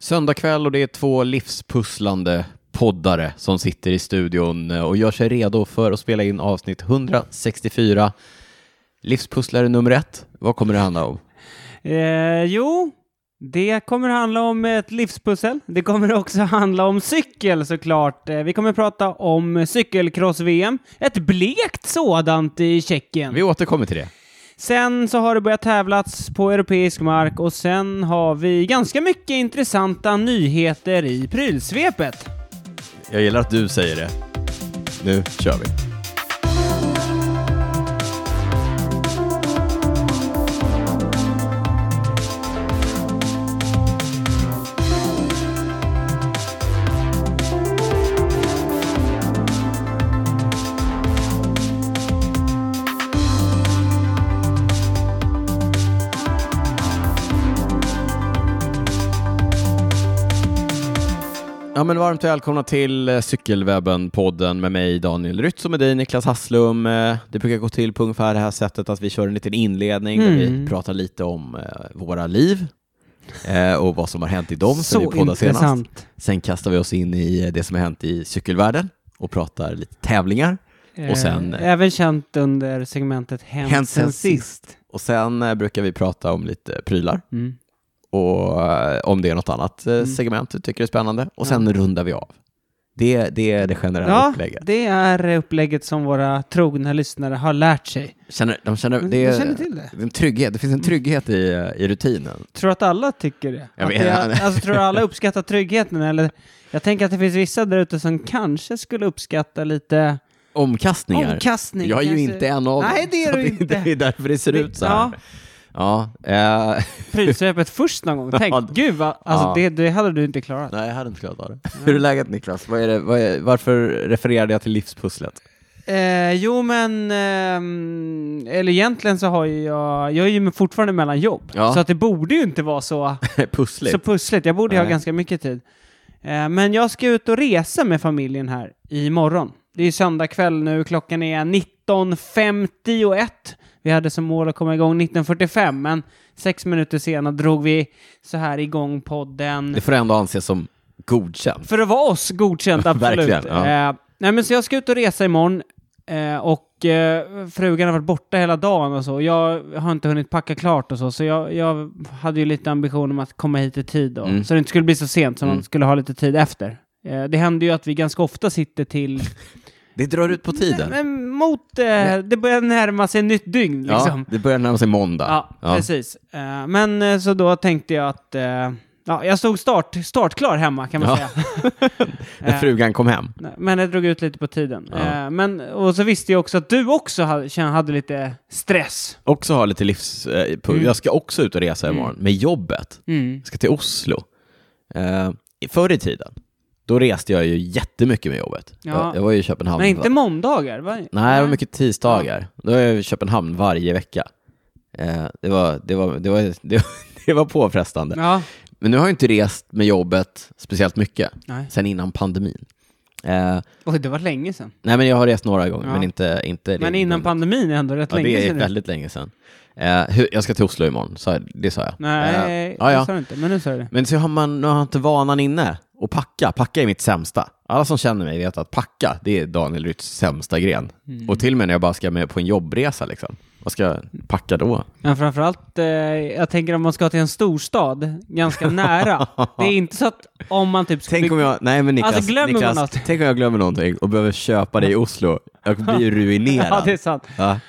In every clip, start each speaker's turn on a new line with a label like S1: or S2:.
S1: Söndag kväll och det är två livspusslande poddare som sitter i studion eh, och gör sig redo för att spela in avsnitt 164. Livspusslare nummer ett, vad kommer det handla om?
S2: Eh, jo, det kommer handla om ett livspussel. Det kommer också handla om cykel såklart. Eh, Vi kommer prata om cykelcross-VM. Ett blekt sådant i Tjeckien.
S1: Vi återkommer till det.
S2: Sen så har det börjat tävlats på europeisk mark och sen har vi ganska mycket intressanta nyheter i prylsvepet.
S1: Jag gillar att du säger det. Nu kör vi. Ja, men varmt välkomna till eh, Cykelwebben-podden med mig Daniel Rytz och med dig Niklas Hasslum. Eh, Det brukar gå till på ungefär det här sättet att vi kör en liten inledning där
S2: Mm.
S1: vi pratar lite om eh, våra liv eh, och vad som har hänt i dem sen vi
S2: så
S1: poddade senast.
S2: intressant.
S1: Sen kastar vi oss in i eh, det som har hänt i cykelvärlden och pratar lite tävlingar. Och sen-
S2: eh, även känt under segmentet Hänt, sen sist.
S1: Och sen eh, brukar vi prata om lite prylar
S2: Mm.
S1: och eh, om det är något annat eh, segment du tycker är spännande. Och sen rundar vi av. Det, det är det generella
S2: Ja,
S1: upplägget.
S2: det är upplägget som våra trogna lyssnare har lärt sig.
S1: Känner, Mm, de känner,
S2: Men
S1: det,
S2: jag
S1: är-
S2: känner till det.
S1: är en trygghet. Det Mm. finns en trygghet i, eh, i rutinen.
S2: Tror att alla tycker det?
S1: Jag
S2: Att
S1: vet-
S2: det är, alltså, tror du alla uppskattar tryggheten? Eller? Jag tänker att det finns vissa där ute som kanske skulle uppskatta lite
S1: Omkastningar.
S2: omkastning.
S1: jag är ju
S2: kanske.
S1: inte en av dem.
S2: Nej, det är
S1: så
S2: du
S1: det-
S2: inte.
S1: Det är därför det ser ut så
S2: Ja,
S1: här. Ja. eh,
S2: prylsvepet först någon gång. Tänk,
S1: Ja.
S2: gud vad, alltså
S1: Ja.
S2: det, det hade du inte klarat.
S1: nej, jag hade inte klarat av det. Hur är läget Niklas? Vad är det, vad är, varför refererade jag till livspusslet?
S2: Eh, jo, men... ehm, eller egentligen så har ju jag... Jag är ju fortfarande mellan jobb.
S1: Ja.
S2: Så att det borde ju inte vara så
S1: Pussligt?
S2: Så pussligt. Jag borde ju ha
S1: Nej.
S2: ganska mycket tid. Eh, Men jag ska ut och resa med familjen här imorgon. Det är ju söndag kväll nu. Klockan är 19.51. Vi hade som mål att komma igång 19.45, men sex minuter senare drog vi så här igång podden.
S1: Det får ändå anses som godkänt.
S2: För att vara oss, godkänt absolut.
S1: Verkligen, ja.
S2: Eh, nej, men så jag ska ut och resa imorgon. Eh, och eh, frugan har varit borta hela dagen och så. Jag har inte hunnit packa klart och så. Så jag, jag hade ju lite ambition om att komma hit i tid då.
S1: Mm.
S2: Så det inte skulle bli så sent som
S1: Mm.
S2: man skulle ha lite tid efter. Eh, det händer ju att vi ganska ofta sitter till...
S1: Det drar ut på tiden.
S2: Men mot... Eh, det börjar närma sig nytt dygn liksom.
S1: Ja, det börjar närma sig måndag.
S2: Ja, precis. Eh, men eh, så då tänkte jag att... Eh, ja, jag stod start, startklar hemma kan man
S1: Ja.
S2: säga. Eh,
S1: När frugan kom hem.
S2: Nej, Men det drog ut lite på tiden.
S1: Ja.
S2: Eh, men, och så visste jag också att du också hade, kände- hade lite stress.
S1: Också har lite livs... Eh, på,
S2: Mm.
S1: Jag ska också ut och resa imorgon med jobbet. Jag ska till Oslo. Eh, i- förr i tiden, då reste jag ju jättemycket med jobbet.
S2: Ja.
S1: Jag, jag var ju i Köpenhamn.
S2: Nej, inte måndagar. Va?
S1: Nej, det var mycket tisdagar. Då var jag i Köpenhamn varje vecka. Eh, det, var, det, var, det, var, det, var, det var påfrestande.
S2: Ja,
S1: Men nu har jag inte rest med jobbet speciellt mycket,
S2: nej.
S1: sen innan pandemin. Eh,
S2: Oj, det var länge sedan.
S1: nej, men jag har rest några gånger,
S2: Ja.
S1: men inte... inte
S2: Men innan pandemin är ändå rätt
S1: Ja,
S2: länge
S1: det är
S2: sedan.
S1: väldigt länge sedan. Eh, hur, jag ska till Oslo imorgon, så, det sa jag.
S2: Nej,
S1: Eh, ja, ja.
S2: det sa du inte. Men nu sa du det.
S1: Men så har man, nu har jag inte vanan inne. Och packa, packa är mitt sämsta. Alla som känner mig vet att packa, det är Daniel Rytts sämsta gren. Och till och med när jag bara ska med på en jobbresa, liksom. vad ska jag packa då?
S2: Men framförallt, eh, jag tänker om man ska till en storstad, ganska nära. det är inte så att om man typ... skulle-
S1: Tänk om jag, nej men Niklas,
S2: Alltså, glömmer man
S1: Niklas
S2: något?
S1: tänk om jag glömmer någonting och behöver köpa det i Oslo. Jag blir ju ruinerad.
S2: Ja, det är sant.
S1: Ja.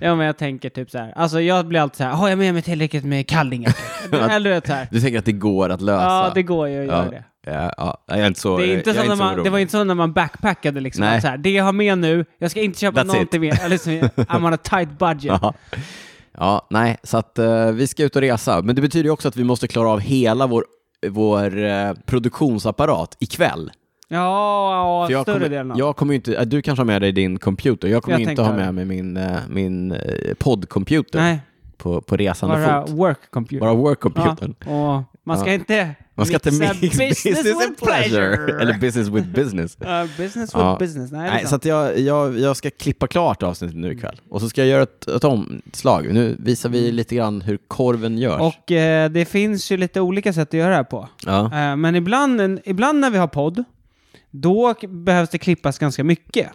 S2: Ja, men jag tänker typ så här. Alltså, jag blir alltid så här, har jag med mig tillräckligt med kallingar? Eller du vet så här.
S1: Du tänker att det går att lösa?
S2: Ja, det går ju att göra det.
S1: Alltså. Ja, ja, jag är inte så,
S2: Det, är inte
S1: jag
S2: så
S1: är
S2: när
S1: inte
S2: man, det
S1: orolig.
S2: var inte så när man backpackade liksom.
S1: Nej.
S2: Att Så här, det jag har med nu, jag ska inte köpa
S1: That's it.
S2: någonting mer. Eller liksom, I'm on a tight budget.
S1: Ja. ja, nej, så att eh, vi ska ut och resa. Men det betyder ju också att vi måste klara av hela vår, vår eh, produktionsapparat ikväll.
S2: Ja,
S1: För
S2: ja
S1: jag
S2: större
S1: kommer,
S2: delen av.
S1: jag kommer ju inte, eh, du kanske har med dig din computer. Jag kommer
S2: Jag
S1: inte
S2: tänkte
S1: ha
S2: ha
S1: med mig min, eh, min eh, poddcomputer
S2: Nej,
S1: på, på resande
S2: bara
S1: fot.
S2: work computer.
S1: Bara workcomputern.
S2: Ja, och man ska inte
S1: Man ska
S2: Mixa
S1: inte mix business, and pleasure. Eller business with business.
S2: Eh, business with
S1: Ja.
S2: business. Nej, det är
S1: Nej,
S2: sant. Mm.
S1: så att jag, jag, jag ska klippa klart avsnittet nu ikväll. Och så ska jag göra ett, ett omslag. Nu visar vi lite grann hur korven görs.
S2: Och eh, det finns ju lite olika sätt att göra det här på.
S1: ja.
S2: Eh, men ibland, en, ibland när vi har podd, då k- behövs det klippas ganska mycket.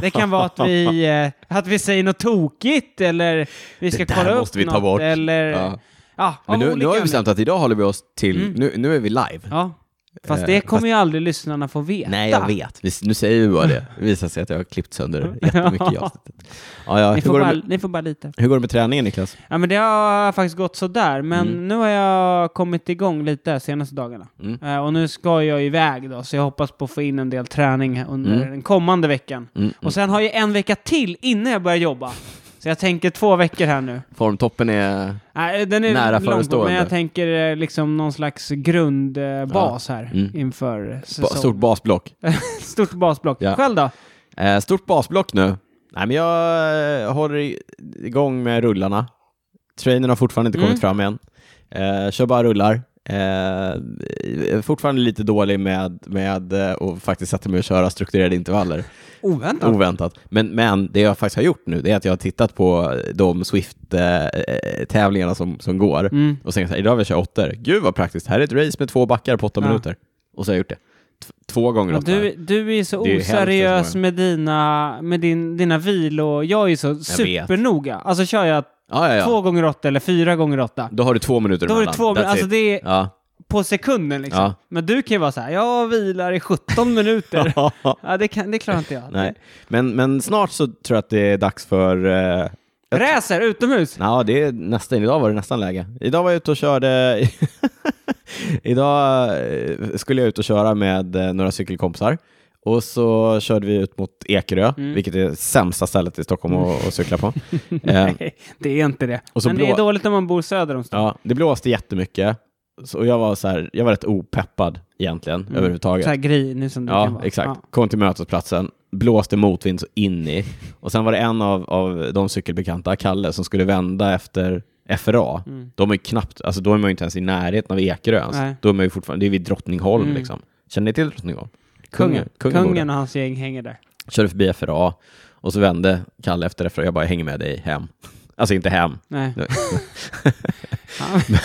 S2: Det kan vara att vi, eh, att vi säger något tokigt eller vi ska
S1: där
S2: kolla upp
S1: måste vi ta
S2: något,
S1: bort.
S2: Eller,
S1: Ja.
S2: ja.
S1: Men
S2: av
S1: nu, nu har vi
S2: olika Mm. anledningar.
S1: bestämt att idag håller vi oss till, nu, nu är vi live.
S2: Ja. Fast
S1: Eh,
S2: det kommer
S1: fast-
S2: ju aldrig lyssnarna få veta.
S1: Nej, jag vet. Vi, nu säger vi bara det. Det visar sig att jag har klippt sönder jättemycket i avsnittet. Ja, ja.
S2: Ni
S1: Hur,
S2: får,
S1: går det
S2: bara,
S1: med,
S2: ni får bara lite.
S1: hur går det med träningen Niklas?
S2: Ja, men det har faktiskt gått sådär, men
S1: Mm.
S2: nu har jag kommit igång lite de senaste dagarna.
S1: Mm.
S2: Eh, och nu ska jag iväg då, så jag hoppas på att få in en del träning under
S1: Mm.
S2: den kommande veckan.
S1: Mm.
S2: Och sen har jag en vecka till innan jag börjar jobba. Så jag tänker två veckor här nu.
S1: Formtoppen är...
S2: Nej, den är
S1: Nära
S2: långt bort,
S1: förestående.
S2: Men jag tänker eh, liksom någon slags grundbas här
S1: Mm.
S2: inför
S1: Ba,
S2: säsong.
S1: stort basblock.
S2: Stort basblock.
S1: Ja.
S2: Själv då?
S1: Eh, stort basblock nu. Nej, men jag eh, håller i- igång med rullarna. Trainern har fortfarande inte
S2: Mm.
S1: kommit fram än. Eh, kör bara rullar. Eh, fortfarande lite dålig med, med eh, att faktiskt sätta mig och köra strukturerade intervaller.
S2: Oväntat.
S1: oväntat. Men, men det jag faktiskt har gjort nu det är att jag har tittat på de Swift-tävlingarna som, som går
S2: Mm.
S1: och tänkt så här, idag vill jag köra åttor. Gud vad praktiskt, här är ett race med två backar på åtta
S2: Ja.
S1: minuter. Och så har jag gjort det. T- två gånger
S2: Och
S1: åtta.
S2: Du, du är så
S1: Det är ju hälften så
S2: oseriös
S1: många.
S2: med dina, med din, dina vilo. Jag är så
S1: vet.
S2: supernoga. Alltså kör jag
S1: ja, ja, ja.
S2: två gånger åtta eller fyra gånger åtta.
S1: Då har du två minuter
S2: Då är det
S1: emellan.
S2: två
S1: That's
S2: Alltså
S1: it.
S2: det är
S1: Ja.
S2: på sekunden liksom.
S1: Ja.
S2: Men du kan ju vara så här, jag vilar i 17 minuter. ja, det, kan, det klarar inte jag.
S1: Nej. Men, men snart så tror jag att det är dags för... Eh,
S2: Räser utomhus?
S1: ja, det är nästan. Idag var det nästan läge. Idag var jag ute och körde... idag eh, skulle jag ut och köra med eh, några cykelkompisar. Och så körde vi ut mot Ekerö,
S2: Mm.
S1: vilket är sämsta stället i Stockholm att, att cykla på. eh,
S2: Nej, det är inte det.
S1: Och så
S2: Men
S1: blå-
S2: det är dåligt om man bor söder om stan.
S1: ja, det blåste jättemycket. Så och jag var, så här, jag var rätt opeppad egentligen, överhuvudtaget.
S2: Så här grinig som det kan
S1: Ja,
S2: vara.
S1: exakt.
S2: Ja.
S1: Kom till mötesplatsen, blåste motvind så in i. Och sen var det en av, av de cykelbekanta, Kalle, som skulle vända efter FRA.
S2: Mm.
S1: De är ju knappt, alltså då är man ju inte ens i närheten av Ekerö ens.
S2: Nej.
S1: Då är man ju fortfarande, det är vid Drottningholm
S2: Mm.
S1: liksom. Känner ni till Drottningholm?
S2: Kungen.
S1: Kungen,
S2: Kungen,
S1: Kungen
S2: och hans gäng hänger där.
S1: Körde förbi FRA och så vände Kalle efter FRA. Jag bara, jag hänger med dig hem. Alltså inte hem,
S2: Nej.
S1: Nej.
S2: Ja.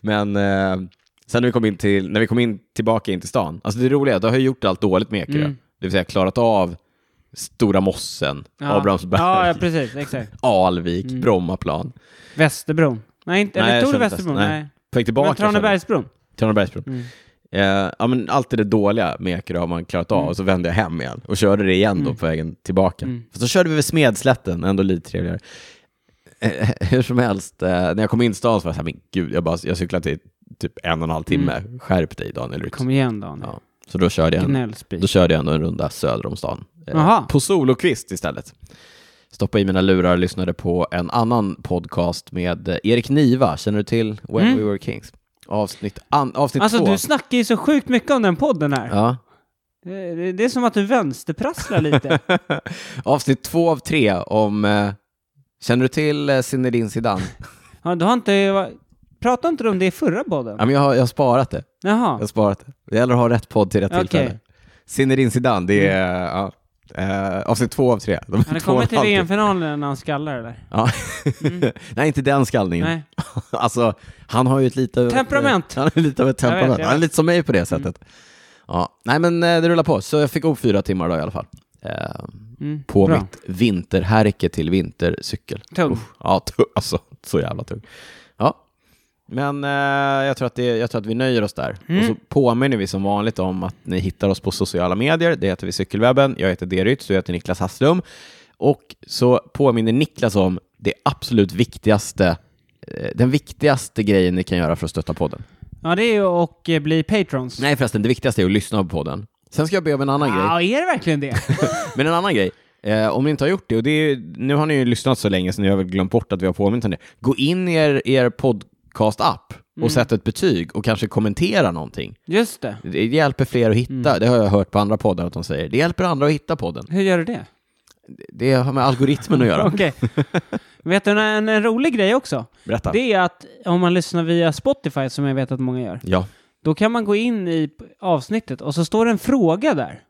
S1: Men eh, sen när vi kom in, till, när vi kom in tillbaka in till stan, alltså det roliga är att jag har ju gjort allt dåligt med Ekerö.
S2: Mm.
S1: Det vill säga klarat av Stora Mossen,
S2: Ja.
S1: Abrahamsberg,
S2: Ja, ja, precis. Mm. Exakt.
S1: Alvik, Brommaplan.
S2: Västerbron. Nej, inte,
S1: Nej,
S2: eller
S1: jag
S2: tog du
S1: körde inte
S2: Västerbron?
S1: väst-
S2: Nej.
S1: nej. På väg tillbaka.
S2: Men Tranebergsbron?
S1: körde- Tranebergsbro.
S2: Mm.
S1: Eh, ja, men allt det dåliga med Ekerö har man klarat av och så vände jag hem igen och körde det igen då på vägen tillbaka.
S2: Mm.
S1: Fast så körde vi vid Smedslätten, ändå lite trevligare. Eh, hur som helst, eh, när jag kom in i stan så var jag så här, men gud, jag, bara, jag cyklade till typ en och en halv timme. Skärp dig Daniel Rytz.
S2: Mm. Kom igen Daniel.
S1: Ja. Så då körde, jag en,
S2: Gnällspik.
S1: då körde jag ändå en runda söder om stan. Eh,
S2: Jaha.
S1: På Solokvist istället. Stoppade i mina lurar och lyssnade på en annan podcast med eh, Erik Niva. Känner du till When
S2: Mm.
S1: We Were Kings? Avsnitt, an, avsnitt
S2: Alltså
S1: två.
S2: du snackar ju så sjukt mycket om den podden här.
S1: Ja.
S2: Det- Det, det är som att du vänsterprasslar lite.
S1: Avsnitt två av tre om... Eh, känner du till eh, Zinedine Zidane?
S2: ja, du har inte... Pratade inte du om det i förra podden?
S1: ja, men jag, har, jag har sparat det. Jag har
S2: Jaha.
S1: sparat det. Det gäller att ha rätt podd till rätt
S2: Okej.
S1: tillfälle. Zinedine Zidane, det är... Ja. Eh, avsnitt två av tre. De är
S2: Han har
S1: två och en
S2: kommit till
S1: halv timme.
S2: VM-finalen när han skallar eller?
S1: Ja. Nej, inte den skallningen.
S2: Mm. Nej.
S1: Alltså, han har ju ett lite...
S2: Temperament.
S1: Han är lite av ett
S2: Jag vet,
S1: temperament.
S2: jag
S1: Han är
S2: vet. Mm.
S1: lite som mig på det sättet. Ja. Nej, men eh, det rullar på. Så jag fick ihop fyra timmar då i alla fall. Eh,
S2: Mm.
S1: på
S2: Bra.
S1: mitt vinterhärke till vintercykel.
S2: Tung.
S1: Uff, ja, tung. Alltså, så jävla tung. Ja. Men eh, jag, tror att det, jag tror att vi nöjer oss där. Och så påminner vi som vanligt om att ni hittar oss på sociala medier. Det heter vi Cykelwebben. Jag heter Derytz, du heter Niklas Hasslum. Och så påminner Niklas om det absolut viktigaste, eh, den viktigaste grejen ni kan göra för att stötta podden.
S2: Ja, det är ju att eh, bli patrons.
S1: Nej förresten, det viktigaste är att lyssna på podden. Sen ska jag be om en annan grej.
S2: Ja, är det verkligen det?
S1: Men en annan grej. Eh, om ni inte har gjort det, och det är, ju- nu har ni ju lyssnat så länge så ni har väl glömt bort att vi har påmint om det. Gå in i er, er podcast-app och
S2: Mm.
S1: sätt ett betyg och kanske kommentera någonting.
S2: Just det.
S1: Det hjälper fler att hitta,
S2: Mm.
S1: det har jag hört på andra poddar att de säger. Det hjälper andra att hitta podden.
S2: Hur gör du det?
S1: Det har med algoritmen att göra.
S2: Okej. Vet du en, en rolig grej också?
S1: Berätta.
S2: Det är att om man lyssnar via Spotify, som jag vet att många gör,
S1: Ja.
S2: Då kan man gå in i p- avsnittet och så står det en fråga där.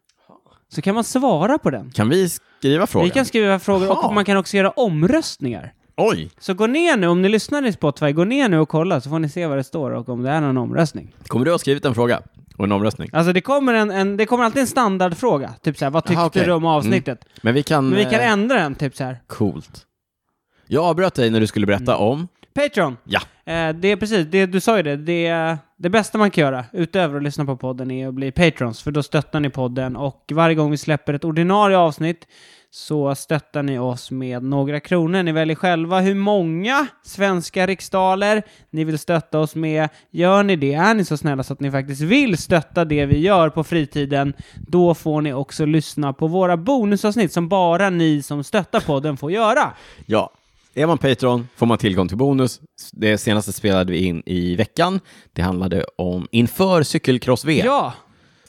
S2: Så kan man svara på den.
S1: Kan vi skriva frågan?
S2: Vi kan skriva frågor
S1: Jaha.
S2: och man kan också göra omröstningar.
S1: Oj,
S2: Så gå ner nu, om ni lyssnar i Spotify, gå ner nu och kolla så får ni se vad det står och om det är någon omröstning.
S1: kommer du ha skrivit en fråga och en omröstning?
S2: Alltså det kommer, en, en, det kommer alltid en standardfråga, typ så här, vad tyckte
S1: Jaha, okej. Mm.
S2: du om avsnittet?
S1: Men vi kan...
S2: Men vi kan
S1: eh,
S2: ändra den, typ så här.
S1: Coolt. Jag avbröt dig när du skulle berätta
S2: Mm.
S1: om...
S2: Patreon!
S1: Ja.
S2: Eh, det är precis, det, du sa ju det, det, det bästa man kan göra utöver att lyssna på podden är att bli patrons, för då stöttar ni podden och varje gång vi släpper ett ordinarie avsnitt så stöttar ni oss med några kronor. Ni väljer själva hur många svenska riksdaler ni vill stötta oss med. Gör ni det, är ni så snälla så att ni faktiskt vill stötta det vi gör på fritiden, då får ni också lyssna på våra bonusavsnitt som bara ni som stöttar podden får göra.
S1: Ja. Är man Patreon får man tillgång till bonus. Det senaste spelade vi in i veckan. Det handlade om inför cykelcross-VM.
S2: Ja!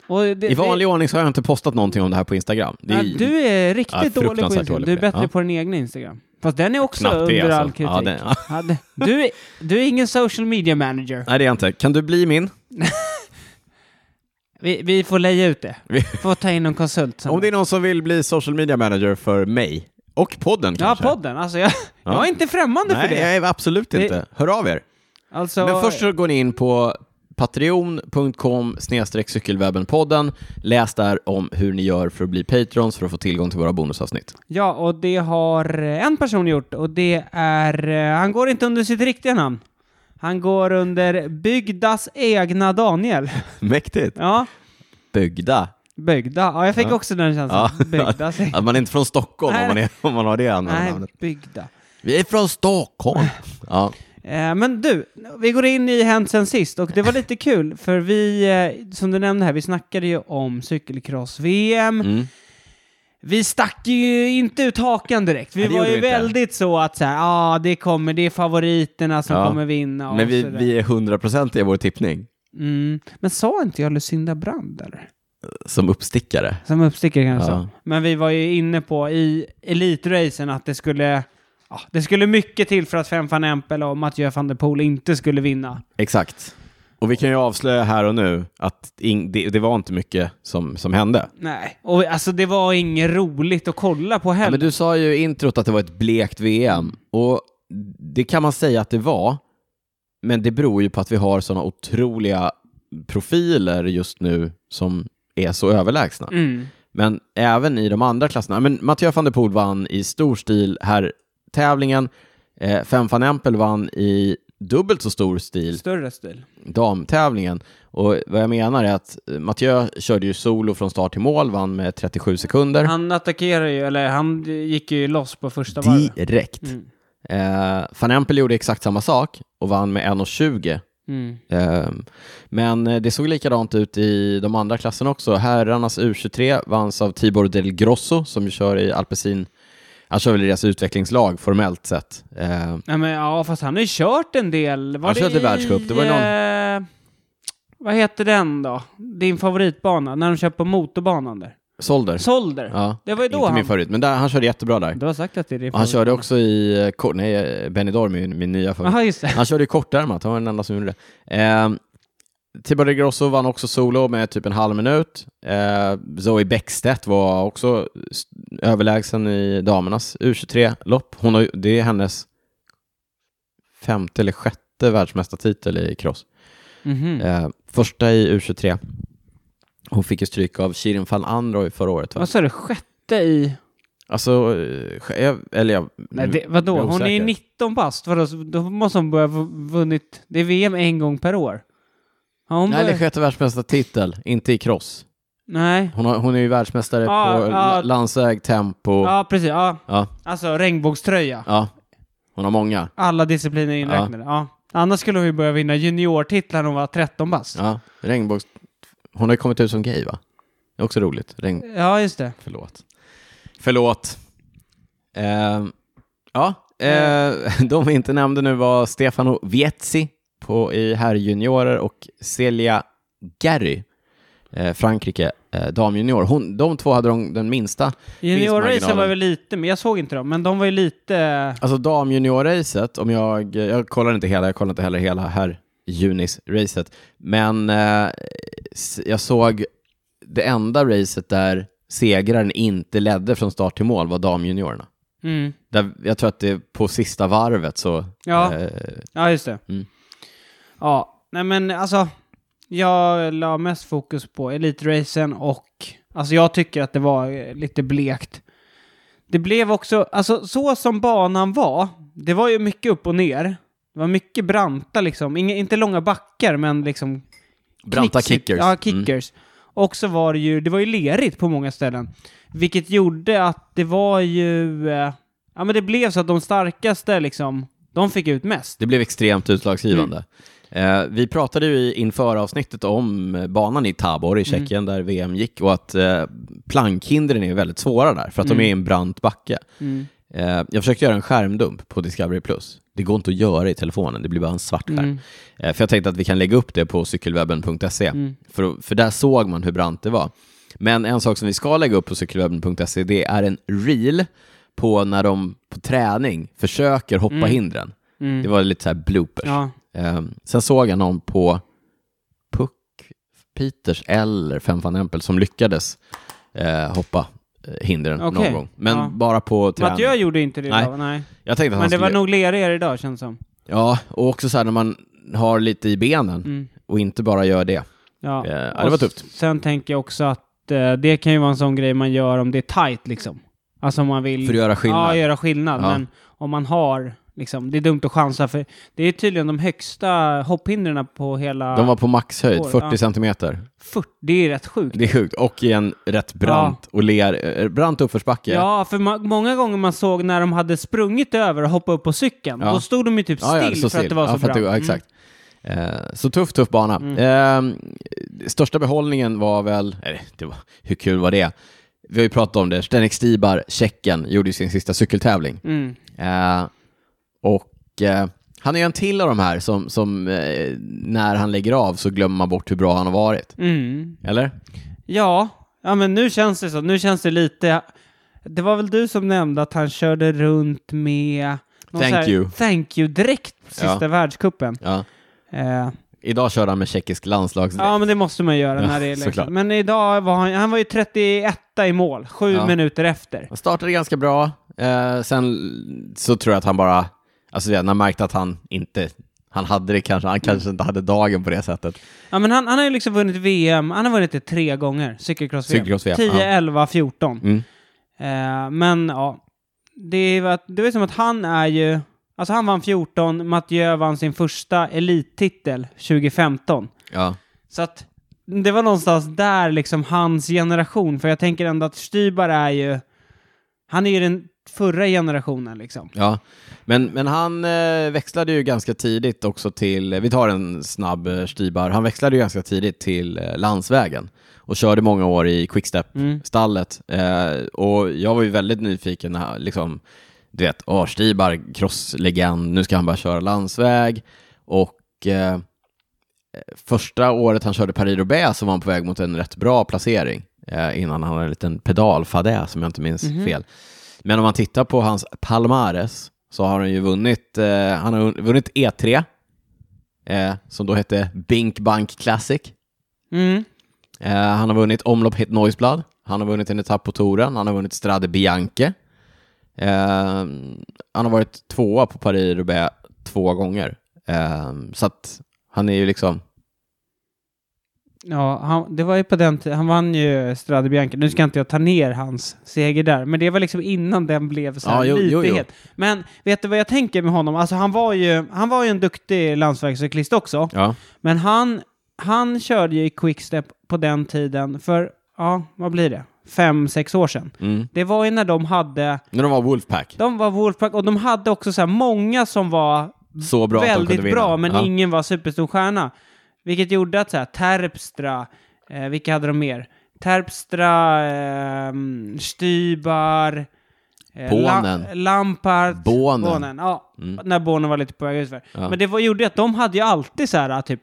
S2: Och det,
S1: I vanlig ordning så har jag inte postat någonting om det här på Instagram. Det är
S2: Ja, du är
S1: Ja,
S2: riktigt dålig på
S1: fruktansvärt
S2: Instagram.
S1: dålig på
S2: du är
S1: det.
S2: bättre
S1: Ja.
S2: på din egna Instagram. Fast den är också
S1: Knappt det,
S2: under all
S1: alltså.
S2: kritik.
S1: Ja, den- ja.
S2: Ja, det- du, är, du är ingen social media manager.
S1: Nej, det är jag inte. Kan du bli min?
S2: Vi, vi får leja ut det. Vi
S1: Vi-
S2: får ta in en konsult. sen.
S1: Om det är någon som vill bli social media manager för mig och podden
S2: ja,
S1: kanske?
S2: podden. Alltså, jag, jag är inte främmande
S1: Nej,
S2: för det.
S1: jag är absolut
S2: Det-
S1: inte. Hör av er.
S2: Alltså,
S1: Men först så går ni in på patreon.com cykelwebbenpodden. Läs där om hur ni gör för att bli patrons för att få tillgång till våra bonusavsnitt.
S2: Ja, och det har eh, en person gjort och det är... eh, Han går inte under sitt riktiga namn. Han går under Bygdas egna Daniel.
S1: Mäktigt.
S2: Ja,
S1: Byggda.
S2: Bygda. Ja, jag fick också den känslan.
S1: Ja.
S2: Bygdas egna...
S1: Att man är inte från Stockholm
S2: Nej.
S1: om man, är, om man har det andra
S2: Nej,
S1: namnet.
S2: Bygda.
S1: Vi är från Stockholm. Ja.
S2: Eh, Men du, vi går in i Hänt sen sist och det var lite kul för vi, eh, som du nämnde här, vi snackade ju om cykelcross-VM.
S1: Mm.
S2: Vi stack ju inte ut hakan direkt. Vi
S1: Nej, det
S2: var
S1: gjorde
S2: ju
S1: vi inte.
S2: väldigt så att så här, ja ah, det kommer, det är favoriterna som
S1: Ja.
S2: kommer vinna. och
S1: Men vi,
S2: sådär.
S1: vi är 100% i vår tippning
S2: Mm. Men sa inte jag Lucinda Brand eller?
S1: som uppstickare.
S2: Som uppstickare kanske.
S1: Ja.
S2: Men vi var ju inne på i Elitracen att det skulle, ja, det skulle mycket till för att Fem van Empel och Mathieu van der Poel inte skulle vinna.
S1: Exakt. Och vi kan ju avslöja här och nu att ing- det, det var inte mycket som, som hände.
S2: Nej, och alltså det var inget roligt att kolla på
S1: Ja,
S2: heller.
S1: men du sa ju i introt att det var ett blekt VM och det kan man säga att det var. Men det beror ju på att vi har sådana otroliga profiler just nu som är så överlägsna.
S2: Mm.
S1: Men även i de andra klasserna. Men Mathieu van der Poel vann i stor stil här tävlingen. Eh, Fem van Empel vann i dubbelt så stor stil
S2: Större stil.
S1: damtävlingen. Och vad jag menar är att eh, Mathieu körde ju solo från start till mål, vann med 37 sekunder.
S2: Han attackerar ju, eller han gick ju loss på första varvet.
S1: Direkt.
S2: Mm.
S1: Eh, Van Empel gjorde exakt samma sak och vann med 1,20.
S2: Mm.
S1: Eh, men eh, det såg likadant ut i de andra klasserna också. Herrarnas U23 vanns av Tibor Del Grosso som ju kör i Alpecin. Han kör väl i deras utvecklingslag formellt sett. Eh,
S2: Ja, men, ja, fast han har ju kört en del. Var
S1: Han
S2: det
S1: körde
S2: i,
S1: världscup. Det var ju
S2: Eh, vad heter den då? Din favoritbana, när de kör på motorbanan där.
S1: Solder.
S2: Solder.
S1: Ja,
S2: Det var ju då
S1: inte min
S2: han...
S1: favorit, men där, han körde jättebra där.
S2: Du har sagt att det är din
S1: Och han
S2: favorit.
S1: körde också i... eh, Kor- nej, eh, Benidorm är ju min nya favorit.
S2: Jaha, just det.
S1: Han körde ju kortärmat, han var den enda som gjorde det. Eh, Tibor de Grosso vann också solo med typ en halv minut. Eh, Zoe Bäckstedt var också s- överlägsen i damernas U23-lopp. Hon har, ju- det är hennes femte eller sjätte världsmästartitel i cross.
S2: Mhm.
S1: Eh, första i U23. Hon fick ju stryk av Shirin van Androoy förra året. Va?
S2: Vad sa du? Sjätte i...
S1: Alltså, eh, jag, eller jag...
S2: Nej, det, vadå?
S1: jag är
S2: Hon är ju
S1: osäker.
S2: 19 bast. Vadå? Så Då måste hon börja ha vunnit... Det är VM en gång per år. Har hon
S1: Nej, det är
S2: börjat-
S1: sjätte världsmästartitel, inte i cross.
S2: Nej.
S1: Hon, har, hon är ju världsmästare
S2: Ja,
S1: på
S2: ja.
S1: la- landsväg, tempo. Ja.
S2: Ja, precis. Ja.
S1: Ja,
S2: Alltså regnbågströja.
S1: Hon har många.
S2: Alla discipliner inräknade. Ja. Annars skulle hon ju börja vinna juniortitlar när hon var 13 bast. Ja.
S1: Ja. Regnbågs... Hon har ju kommit ut som gay, va? Det är också roligt. Regn...
S2: just det.
S1: Förlåt. Förlåt. Ehm, ja, eh, de vi inte nämnde nu var Stefano Vietzi på, i herrjuniorer och Celia Gary, eh, Frankrike, eh, damjunior. Hon, de två hade de, den minsta
S2: Juniorracen
S1: vinstmarginalen.
S2: var väl lite, men jag såg inte dem. Men de var ju lite...
S1: Alltså damjuniorracet, om jag, jag kollar inte hela, jag kollar inte heller hela här Junis-racet. Men eh, s- jag såg det enda racet där segraren inte ledde från start till mål var damjuniorerna.
S2: Mm.
S1: Där, jag tror att det på sista varvet så...
S2: Ja.
S1: eh,
S2: Ja, just det.
S1: Mm.
S2: Ja, nej men alltså. Jag la mest fokus på Elitracen och alltså jag tycker att det var eh, lite blekt. Det blev också, alltså så som banan var, det var ju mycket upp och ner. Det var mycket branta liksom, Inga, inte långa backar men liksom
S1: branta
S2: knixigt.
S1: kickers.
S2: Ja,
S1: Mm.
S2: kickers. Och så var det ju, det var ju lerigt på många ställen. Vilket gjorde att det var ju, eh, ja men det blev så att de starkaste liksom, de fick ut mest.
S1: Det blev extremt
S2: Mm.
S1: utslagsgivande. Eh, vi pratade ju i- inför avsnittet om eh, banan i Tabor i Tjeckien
S2: Mm.
S1: där VM gick och att eh, plankhindren är väldigt svåra där för att de är i en brant backe.
S2: Mm.
S1: Eh, jag försökte göra en skärmdump på Discovery+. Plus. Det går inte att göra i telefonen, det blir bara en svart skärm.
S2: Mm.
S1: Eh, för jag tänkte att vi kan lägga upp det på cykelwebben.se,
S2: Mm.
S1: för, för där såg man hur brant det var. Men en sak som vi ska lägga upp på cykelwebben.se, det är en reel på när de på träning försöker hoppa hindren.
S2: Mm.
S1: Det var lite så här bloopers.
S2: Ja,
S1: Ehm, sen såg jag någon på Puck, Peters eller Fem van Empel som lyckades eh, hoppa eh, hindren
S2: Okej.
S1: någon gång. Men
S2: Ja.
S1: bara på träning.
S2: Mattiö gjorde inte det
S1: Nej.
S2: då, nej.
S1: Jag tänkte att han
S2: Men det
S1: skulle...
S2: var nog lerigare idag känns som.
S1: Ja, och också så här när man har lite i benen
S2: Mm.
S1: och inte bara gör det.
S2: Ja.
S1: Eh, ja, det
S2: Och
S1: var tufft.
S2: s- Sen tänker jag också att eh, det kan ju vara en sån grej man gör om det är tight liksom. Alltså om man vill...
S1: För att göra skillnad.
S2: Ja, göra skillnad.
S1: Ja.
S2: Men om man har, liksom, det är dumt att chansa för det är tydligen de högsta hopphindren på hela...
S1: De var på maxhöjd,
S2: År,
S1: 40
S2: ja.
S1: centimeter.
S2: 40, det är rätt sjukt.
S1: Det är sjukt. Och i en rätt brant och ler, eh, brant uppförsbacke.
S2: Ja, för ma- många gånger man såg när de hade sprungit över och hoppat upp på cykeln,
S1: Ja.
S2: då stod de ju typ still
S1: Ja, ja,
S2: för
S1: så
S2: att det var
S1: ja,
S2: så Mm.
S1: för
S2: bra.
S1: att det- ja, exakt. Eh, Så tuff, tuff bana. Eh, största behållningen var väl, eller, det var, hur kul var det? Vi har ju pratat om det, Zdenek Stibar, Tjeckien, gjorde ju sin sista cykeltävling.
S2: Mm. Mm.
S1: Eh, och eh, han är ju en till av de här som, som eh, när han lägger av så glömmer man bort hur bra han har varit.
S2: Mm.
S1: Eller?
S2: Ja, ja men nu känns det så. Nu känns det lite... Det var väl du som nämnde att han körde runt med... någon
S1: Thank
S2: så här-
S1: you.
S2: Thank you direkt på sista
S1: Ja.
S2: världscupen.
S1: Ja.
S2: Eh,
S1: Idag körde han med tjeckisk landslagsdräkt.
S2: ja, men det måste man göra
S1: Ja,
S2: när det är
S1: såklart.
S2: liksom. Men idag var han... Han var ju 31 i mål, sju
S1: Ja.
S2: minuter efter.
S1: Han startade ganska bra, eh, sen så tror jag att han bara, alltså när han märkte att han inte, han hade det kanske, han kanske inte hade dagen på det sättet.
S2: Ja, men han, han har ju liksom vunnit VM. Han har vunnit det tre gånger, cykelcross-VM.
S1: Cykelcross-VM,
S2: 10,
S1: ja.
S2: 11, 14.
S1: Mm.
S2: Eh, men ja, det är, ju att- det är som att han är ju... Alltså han vann 14, Mathieu vann sin första elittitel 2015.
S1: Ja.
S2: Så att det var någonstans där liksom hans generation, för jag tänker ändå att Stybar är ju... Han är ju den förra generationen liksom.
S1: Ja, men, men han eh, växlade ju ganska tidigt också till, vi tar en snabb eh, Stibar, han växlade ju ganska tidigt till eh, landsvägen och körde många år i quickstep-stallet. Eh, och jag var ju väldigt nyfiken, när, han, liksom, du vet, åh, Stibar, crosslegend, nu ska han bara köra landsväg. Och eh, första året han körde Paris-Roubaix så var han på väg mot en rätt bra placering eh, innan han hade en liten pedalfadäs, som jag inte minns fel. Men om man tittar på hans Palmares så har han ju vunnit, eh, han har vunnit E3, eh, som då hette Bink Bank Classic.
S2: Mm.
S1: Eh, han har vunnit omlopp Hit Noiseblad, han har vunnit en etapp på touren, han har vunnit Strade Bianche. Eh, han har varit tvåa på Paris-Roubaix två gånger. Eh, så att han är ju liksom,
S2: Ja, han, det var ju på den tiden, han vann ju Strade Bianca. Nu ska inte jag ta ner hans seger där, men det var liksom innan den blev så här
S1: Ja, jo,
S2: lite
S1: jo, jo.
S2: het. Men vet du vad jag tänker med honom? Alltså han var ju, han var ju en duktig landsvägscyklist också,
S1: ja,
S2: men han, han körde ju i quickstep på den tiden för, ja, vad blir det? Fem, sex år sedan.
S1: mm.
S2: Det var ju när de hade,
S1: när de var Wolfpack,
S2: de var Wolfpack och de hade också så här många som var
S1: så bra att de kunde
S2: väldigt
S1: vinna.
S2: bra, men
S1: ja.
S2: ingen var superstor stjärna. Vilket gjorde att så här, Terpstra, eh, vilka hade de mer? Terpstra, eh, mm, Stybar, eh,
S1: Bonen.
S2: La- Lampart,
S1: Bonen.
S2: ja, när Bonen var lite på väg utför.
S1: Mm. Ja.
S2: Men det var, gjorde ju att de hade ju alltid så här, typ,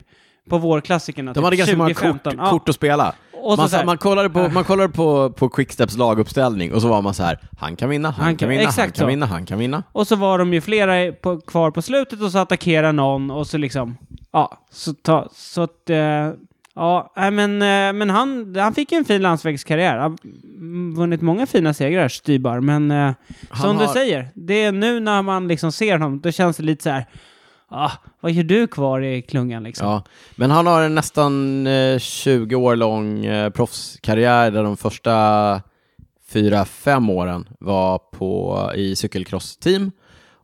S2: på vårklassikerna,
S1: De hade
S2: typ,
S1: ganska många
S2: 2015,
S1: kort,
S2: ja.
S1: kort att spela.
S2: Och så
S1: man,
S2: så här-
S1: man kollade, på, man kollade på, på Quicksteps laguppställning och så var man så här, han kan vinna, han,
S2: Han
S1: kan
S2: kan-
S1: vinna, han
S2: exakt
S1: kan
S2: så.
S1: vinna, han kan vinna.
S2: Och så var de ju flera på, kvar på slutet och så attackerade någon och så liksom Ja, så, ta, så att... eh, ja, nej, men, eh, men han, han fick ju en fin landsvägskarriär. Han har mm, vunnit många fina segrar, Stybar. Men eh,
S1: Han
S2: som du
S1: har-
S2: säger, det är nu när man liksom ser honom, då känns det lite så här... Ah, vad gör du kvar i klungan liksom?
S1: Ja, men han har en nästan eh, 20 år lång eh, proffskarriär där de första fyra fem åren var på, i cykelcross-team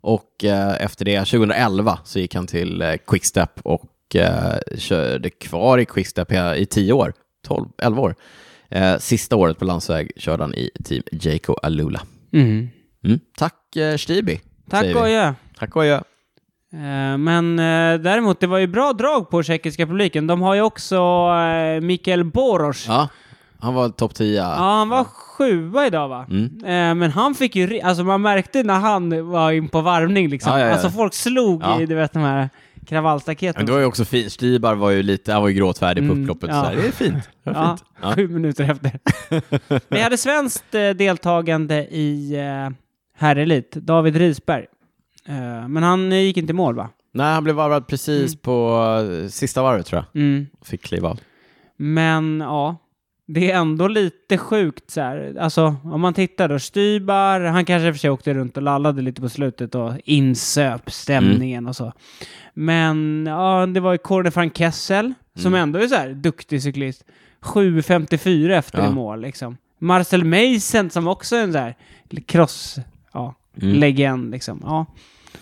S1: och eh, efter det, 2011, så gick han till eh, Quickstep och eh, körde kvar i Quickstep hela- i 10 år, 12, 11 år. Eh, sista året på landsväg körde han i team Jaco Alula.
S2: Mm.
S1: Mm. Tack eh, Stibi. säger
S2: Tack
S1: vi.
S2: och adjö.
S1: Tack och adjö.
S2: Eh, Men eh, däremot, det var ju bra drag på Tjeckiska publiken. De har ju också eh, Mikael Boros. Ja.
S1: Ja, han var topp 10.
S2: han var sjua idag va?
S1: Mm.
S2: Eh, Men han fick ju, ri- alltså man märkte när han var in på varvning liksom.
S1: Ja, ja, ja.
S2: Alltså folk slog
S1: Ja.
S2: i, du vet de här
S1: Ja, Men
S2: kravallstaketen.
S1: det var ju också fint. Stibar var ju lite, han var ju gråtfärdig på
S2: Mm,
S1: upploppet.
S2: ja.
S1: Så här. Det är fint. Det var
S2: Ja,
S1: fint. Ja.
S2: Sju minuter efter. Vi hade svenskt eh, deltagande i eh, herrelit, David Risberg. Eh, Men han eh, gick inte i mål va?
S1: Nej, han blev varvad precis på eh, sista varvet tror jag.
S2: Mm.
S1: Fick kliva av.
S2: Men ja, det är ändå lite sjukt så här. Alltså om man tittar då, Stybar, han kanske i och för sig åkte runt och lallade lite på slutet och insöp stämningen och så. Men ja, det var ju Corne van Kessel, som ändå är så här duktig cyklist. 7.54 efter
S1: Ja.
S2: i mål liksom. Marcel Meissen som också är en så här cross, ja,
S1: Mm.
S2: legend liksom. Ja.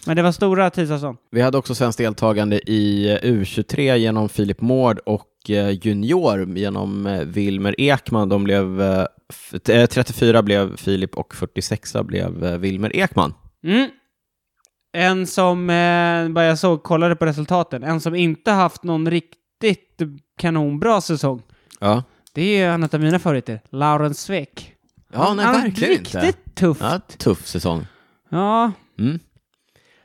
S2: Men det var stora tidsavstånd.
S1: Vi hade också svenskt deltagande i eh, U23 genom Filip Mård och eh, Junior genom eh, Wilmer Ekman. De blev, eh, f- eh, 34 blev Filip och 46 blev eh, Wilmer Ekman.
S2: Mm. En som, eh, bara jag såg, kollade på resultaten, en som inte haft någon riktigt kanonbra säsong,
S1: Ja,
S2: det är ju en av mina favoriter, Lauren Sveck.
S1: ja nej,
S2: han
S1: verkligen
S2: riktigt
S1: inte.
S2: tuff. Ja,
S1: Ja, tuff säsong. Mm.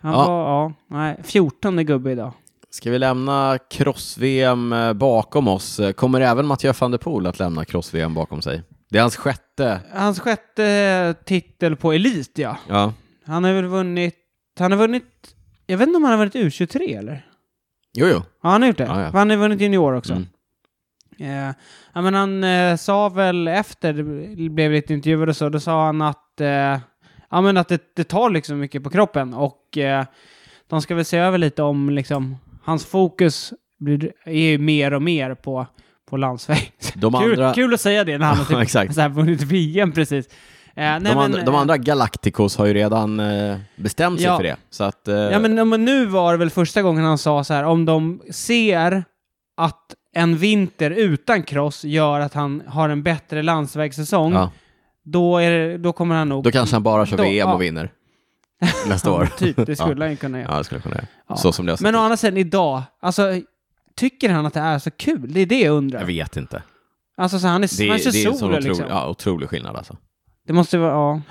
S2: han
S1: Ja.
S2: var, ja, nej, 14 gubbe idag.
S1: Ska vi lämna cross-VM eh, bakom oss? Eh, Kommer även Mathieu van der Poel att lämna cross-VM bakom sig? Det är hans sjätte.
S2: Hans sjätte titel på elit, ja.
S1: Ja.
S2: Han har väl vunnit, han har vunnit, jag vet inte om han har vunnit U23 eller?
S1: Jo, jo.
S2: Ja, han har gjort det.
S1: Ja, ja.
S2: För Han har vunnit junior också.
S1: Mm.
S2: Eh, ja, men han eh, sa väl efter, det blev lite intervjuer och så, då sa han att, eh, ja, men att det, det tar liksom mycket på kroppen och eh, de ska väl se över lite om liksom, hans fokus blir, är ju mer och mer på, på landsväg.
S1: De
S2: Kul,
S1: andra,
S2: kul att säga det när han har typ,
S1: exakt.
S2: så här, vunnit VM precis. Eh, nej,
S1: de, andra,
S2: men, eh,
S1: de andra Galacticos har ju redan eh, bestämt sig
S2: Ja.
S1: för det. Så att, eh,
S2: Ja, men, ja, men nu var det väl första gången han sa så här, om de ser att en vinter utan cross gör att han har en bättre landsvägssäsong,
S1: ja.
S2: då, är det, då kommer han nog...
S1: Då kanske han bara kör
S2: Då-
S1: VM
S2: ja.
S1: och vinner nästa år.
S2: Typ, det skulle
S1: ja.
S2: han ju kunna göra.
S1: Ja, det skulle jag kunna göra.
S2: Ja.
S1: Så typ. som det har sett
S2: men å
S1: ut.
S2: andra sidan idag, alltså tycker han att det är så kul? Det är det jag undrar.
S1: Jag vet inte.
S2: Alltså så han är,
S1: Det,
S2: han
S1: det är
S2: kör
S1: en sån
S2: solo
S1: otrolig,
S2: liksom.
S1: ja, otrolig skillnad alltså.
S2: Det måste vara, ja.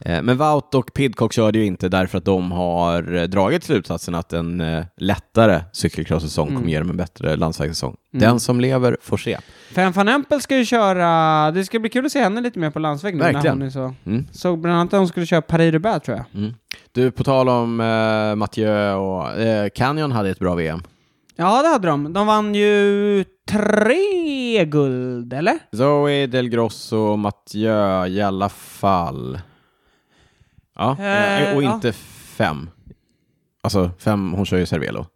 S1: Eh, Men Wout och Pidcock körde ju inte därför att de har eh, dragit slutsatsen att en eh, lättare cykelcross-säsong kommer ge dem en bättre landsvägssäsong. Den som lever får se.
S2: Fan van Empel ska ju köra, det ska bli kul att se henne lite mer på landsväg nu när
S1: Verkligen.
S2: hon är så.
S1: Mm.
S2: Såg bland annat att hon skulle köra Paris-Roubaix tror jag.
S1: Mm. Du, på tal om eh, Mathieu och eh, Canyon hade ett bra VM.
S2: Ja, det hade de. De vann ju tre guld, eller?
S1: Zoe, Del Grosso och Mathieu i alla fall. Ja,
S2: Eh,
S1: eh, och
S2: ja.
S1: inte fem. Alltså fem, hon kör ju Cervelo.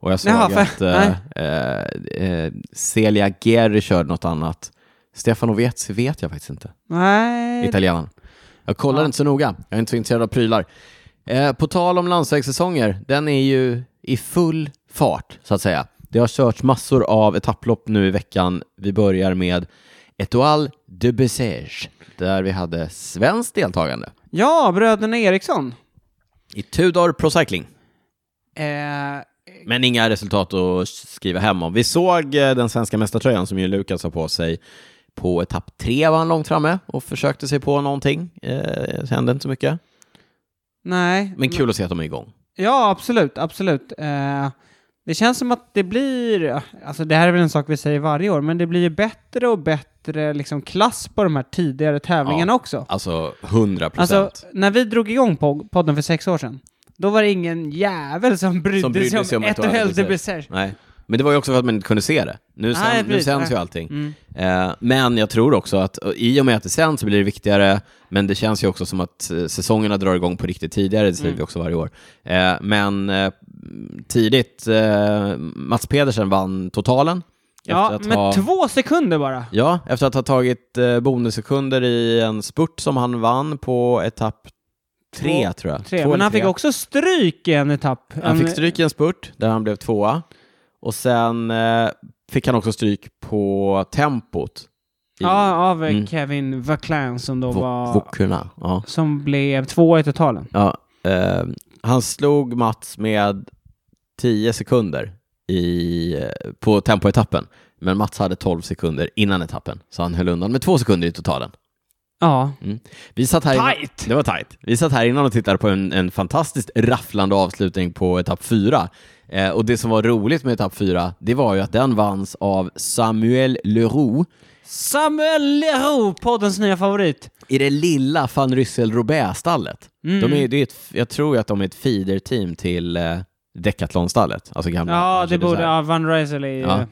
S1: Och jag såg
S2: Jaha, fem.
S1: att eh, eh, eh, Celia Gerry körde något annat. Stefano Ovietzi vet jag faktiskt inte.
S2: Nej.
S1: Italienaren. Jag kollar
S2: Ja.
S1: inte så noga. Jag är inte så intresserad av prylar. Eh, på tal om landsvägssäsonger, den är ju i full fart, så att säga. Det har körts massor av etapplopp nu i veckan. Vi börjar med Etoile de Bessège, där vi hade svenskt deltagande
S2: Ja, bröderna Eriksson.
S1: i Tudor Pro Cycling.
S2: Eh,
S1: Men inga resultat att skriva hem om. Vi såg eh, den svenska mästartröjan som ju Lukas har på sig. På etapp tre var han långt framme och försökte sig på någonting. Eh, hände inte så mycket.
S2: nej.
S1: Men kul att se att de är igång.
S2: Ja, absolut, absolut. Eh, det känns som att det blir, alltså det här är väl en sak vi säger varje år, men det blir ju bättre och bättre liksom klass på de här tidigare tävlingarna också.
S1: Alltså 100 procent.
S2: Alltså, när vi drog igång po- podden för sex år sedan, Då var det ingen jävel som brydde,
S1: Som brydde sig om
S2: ett och
S1: Eternal
S2: hälfte
S1: Besers.
S2: besers.
S1: Nej. Men det var ju också för att man inte kunde se det. Nu,
S2: Nej,
S1: sen, nu
S2: precis.
S1: sänds ju
S2: Nej.
S1: allting.
S2: Mm.
S1: Eh, men jag tror också att eh, i och med att det sänds så blir det viktigare, men det känns ju också som att eh, säsongerna drar igång på riktigt tidigare, det säger
S2: Mm.
S1: vi också varje år. Eh, men eh, tidigt, eh, Mats Pedersen vann totalen.
S2: Ja,
S1: efter att
S2: men
S1: ha-
S2: två sekunder bara.
S1: Ja, efter att ha tagit eh, bonussekunder i en spurt som han vann på etapp tre,
S2: Två-
S1: tror jag.
S2: Tre.
S1: Två
S2: men
S1: eller
S2: han fick
S1: tre.
S2: också stryk i en etapp.
S1: Han
S2: En-
S1: fick stryk i en spurt där han blev tvåa och sen eh, fick han också stryk på tempot i
S2: Ja, av eh,
S1: Mm.
S2: Kevin Vaclan som då
S1: vo-
S2: var...
S1: vokurna. Ja.
S2: Som blev tvåa i totalen.
S1: Ja, eh, han slog Mats med 10 sekunder i, eh, på tempoetappen, men Mats hade 12 sekunder innan etappen, så han höll undan med två sekunder i totalen.
S2: Ja.
S1: Vi satt här innan-
S2: Tight!
S1: Det var tajt. Vi satt här innan och tittade på en, en fantastiskt rafflande avslutning på etapp fyra. Eh, och det som var roligt med etapp fyra, det var ju att den vanns av Samuel Leroux
S2: Samuel Leroux, poddens nya favorit.
S1: i det lilla van Ryssel-Robert-stallet.
S2: Mm.
S1: De är, det är ett, jag tror ju att de är ett feeder-team till eh, Decathlon-stallet, alltså gamla
S2: Ja, det
S1: Mercedes
S2: borde...
S1: här.
S2: Ja, Van Rysel är ju...
S1: Ja.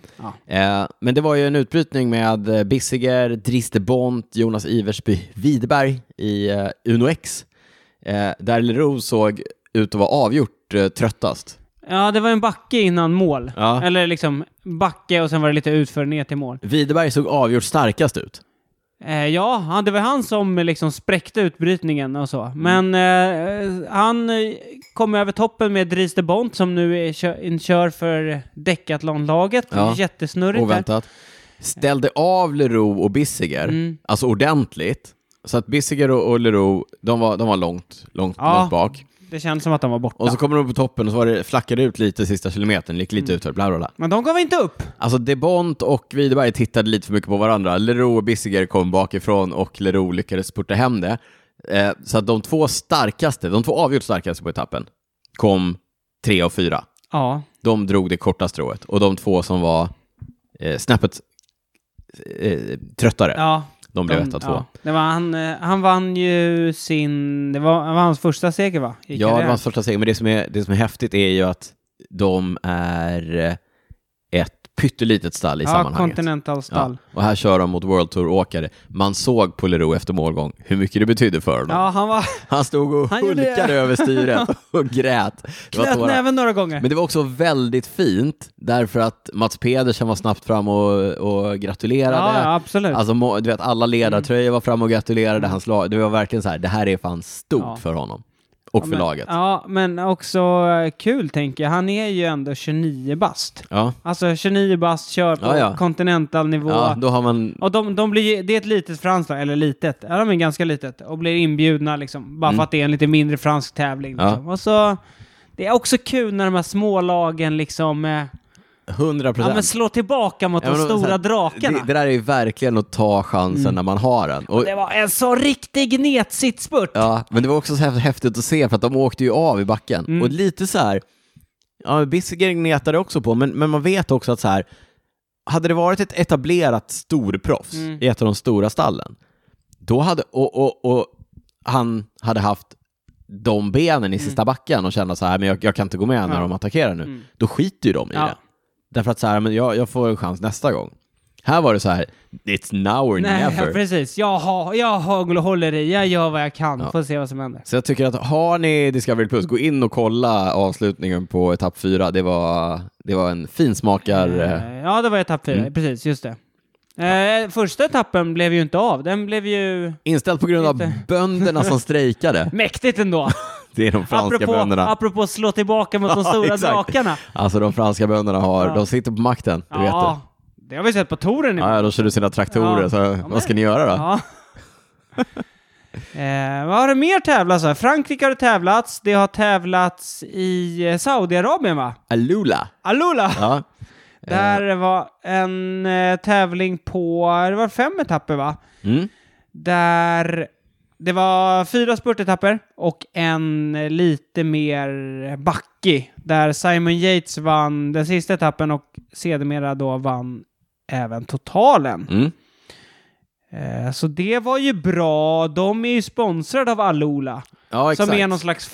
S2: Ja.
S1: Eh, men det var ju en utbrytning med eh, Bissiger, Driste Bont, Jonas Iversby Widerberg i eh, Uno X, eh, där Leroux såg ut att vara avgjort eh, tröttast.
S2: ja, det var en backe innan mål.
S1: Ja.
S2: Eller liksom backe och sen var det lite utför ner till mål.
S1: Widerberg såg avgjort starkast ut.
S2: Eh, ja, han- det var han som eh, liksom spräckte utbrytningen och så.
S1: Mm.
S2: Men eh, han eh, kom över toppen med Dries de Bont som nu är kö- in- kör för Decathlon-laget.
S1: Ja.
S2: Jättesnurrigt. där.
S1: Oväntat. Ställde av Leroux och Bissiger,
S2: Mm.
S1: alltså ordentligt. Så att Bissiger och och Leroux, de var, de var långt, långt,
S2: Ja.
S1: långt bak.
S2: Det kändes som att de var borta.
S1: Och så kommer de upp på toppen och så var det, flackade det ut lite sista kilometern, gick
S2: Mm.
S1: lite utför, bla bla bla.
S2: Men de gav inte upp.
S1: Alltså DeBont och Widerberg tittade lite för mycket på varandra. Leroux och Bissiger kom bakifrån och Leroux lyckades spurta hem det. Eh, så att de två starkaste, de två avgjort starkaste på etappen, kom tre och fyra.
S2: Ja.
S1: De drog det korta strået och de två som var eh, snäppet eh, tröttare,
S2: ja.
S1: de blev
S2: de-
S1: etta och två.
S2: ja. Det var han, eh, han vann ju sin... Det var, det var hans första seger va? I
S1: Ja, det var
S2: karriären.
S1: hans första seger, men det som, är, det som är häftigt är ju att de är eh, ett pyttelitet stall i
S2: Ja,
S1: sammanhanget.
S2: Continental stall.
S1: Ja, och här kör de mot World Tour-åkare. Man såg på Leroux efter målgång hur mycket det betydde för honom.
S2: Ja, han var...
S1: Han stod och
S2: Han gjorde det.
S1: hulkade över styret och grät. Det var
S2: knöt
S1: tårar.
S2: näven några gånger.
S1: Men det var också väldigt fint, därför att Mats Pedersen var snabbt fram och, och gratulerade.
S2: ja, ja, absolut.
S1: Alltså, må- du vet, alla ledartröjor var fram och gratulerade hans lag. Det var verkligen så här, det här är fan stort
S2: Ja.
S1: för honom. Och
S2: Ja,
S1: för
S2: men-
S1: laget.
S2: Ja, men också eh, kul tänker jag. Han är ju ändå 29 bast.
S1: Ja.
S2: Alltså 29 bast, kör på
S1: Ja, ja.
S2: kontinental nivå.
S1: ja, då har man...
S2: Och de, de blir, det är ett litet franskt lag, eller litet, ja de är ganska litet, och blir inbjudna liksom, bara för att det är en lite mindre fransk tävling.
S1: Mm. Ja.
S2: Liksom. Och så, det är också kul när de här små lagen liksom, eh,
S1: 100
S2: ja, men
S1: procent.
S2: slår tillbaka mot de stora drakarna. Mm.
S1: Det, det där är ju verkligen att ta chansen när man har den. Och,
S2: Det var en så riktig netsitsspurt.
S1: Ja, men det var också så här häftigt att se för att de åkte ju av i backen.
S2: Mm.
S1: Och lite så här, ja, Bissiger gnetade också på, men, men man vet också att så här, hade det varit ett etablerat storproffs
S2: Mm.
S1: i ett av de stora stallen, då hade, och, och, och han hade haft de benen i sista backen och kände så här, men jag, jag kan inte gå med när
S2: Mm. Ja. Mm.
S1: de attackerar nu, då skiter ju de i
S2: Ja.
S1: det. Därför att så här, men jag, jag får en chans nästa gång. Här var det så här, it's now or
S2: Nej,
S1: never.
S2: precis. Jag, har, jag har- håller i, jag gör vad jag kan, får se vad som händer.
S1: Så jag tycker att har ni Discovery Plus, gå in och kolla avslutningen på etapp 4. Det var, det var en finsmakar... eh,
S2: Eh, Ja, det var etapp fyra,
S1: Mm.
S2: precis, just det. Eh, första etappen blev ju inte av, den blev ju
S1: Inställd på grund av
S2: Inte.
S1: bönderna som strejkade.
S2: mäktigt ändå.
S1: Det är de franska
S2: apropå,
S1: bönderna.
S2: apropå slå tillbaka mot de
S1: Ja,
S2: stora
S1: exakt.
S2: drakarna.
S1: Alltså de franska bönderna har,
S2: Ja.
S1: de sitter på makten, du vet det.
S2: Ja, det har vi sett på touren nu.
S1: Ja, ja, de körde sina traktorer,
S2: Ja.
S1: så
S2: men-
S1: vad ska ni göra då?
S2: Ja. eh, vad har det mer tävlats här? Frankrike har det tävlats, det har tävlats i eh, Saudiarabien va?
S1: Alula!
S2: Alula!
S1: Ja.
S2: Där var en eh, tävling på, det var fem etapper va?
S1: Mm.
S2: Där det var fyra spurtetapper och en eh, lite mer backig. Där Simon Yates vann den sista etappen och sedermera då vann även totalen.
S1: Mm.
S2: Eh, Så det var ju bra. De är ju sponsrade av Alola.
S1: Ja, exakt.
S2: Som är någon slags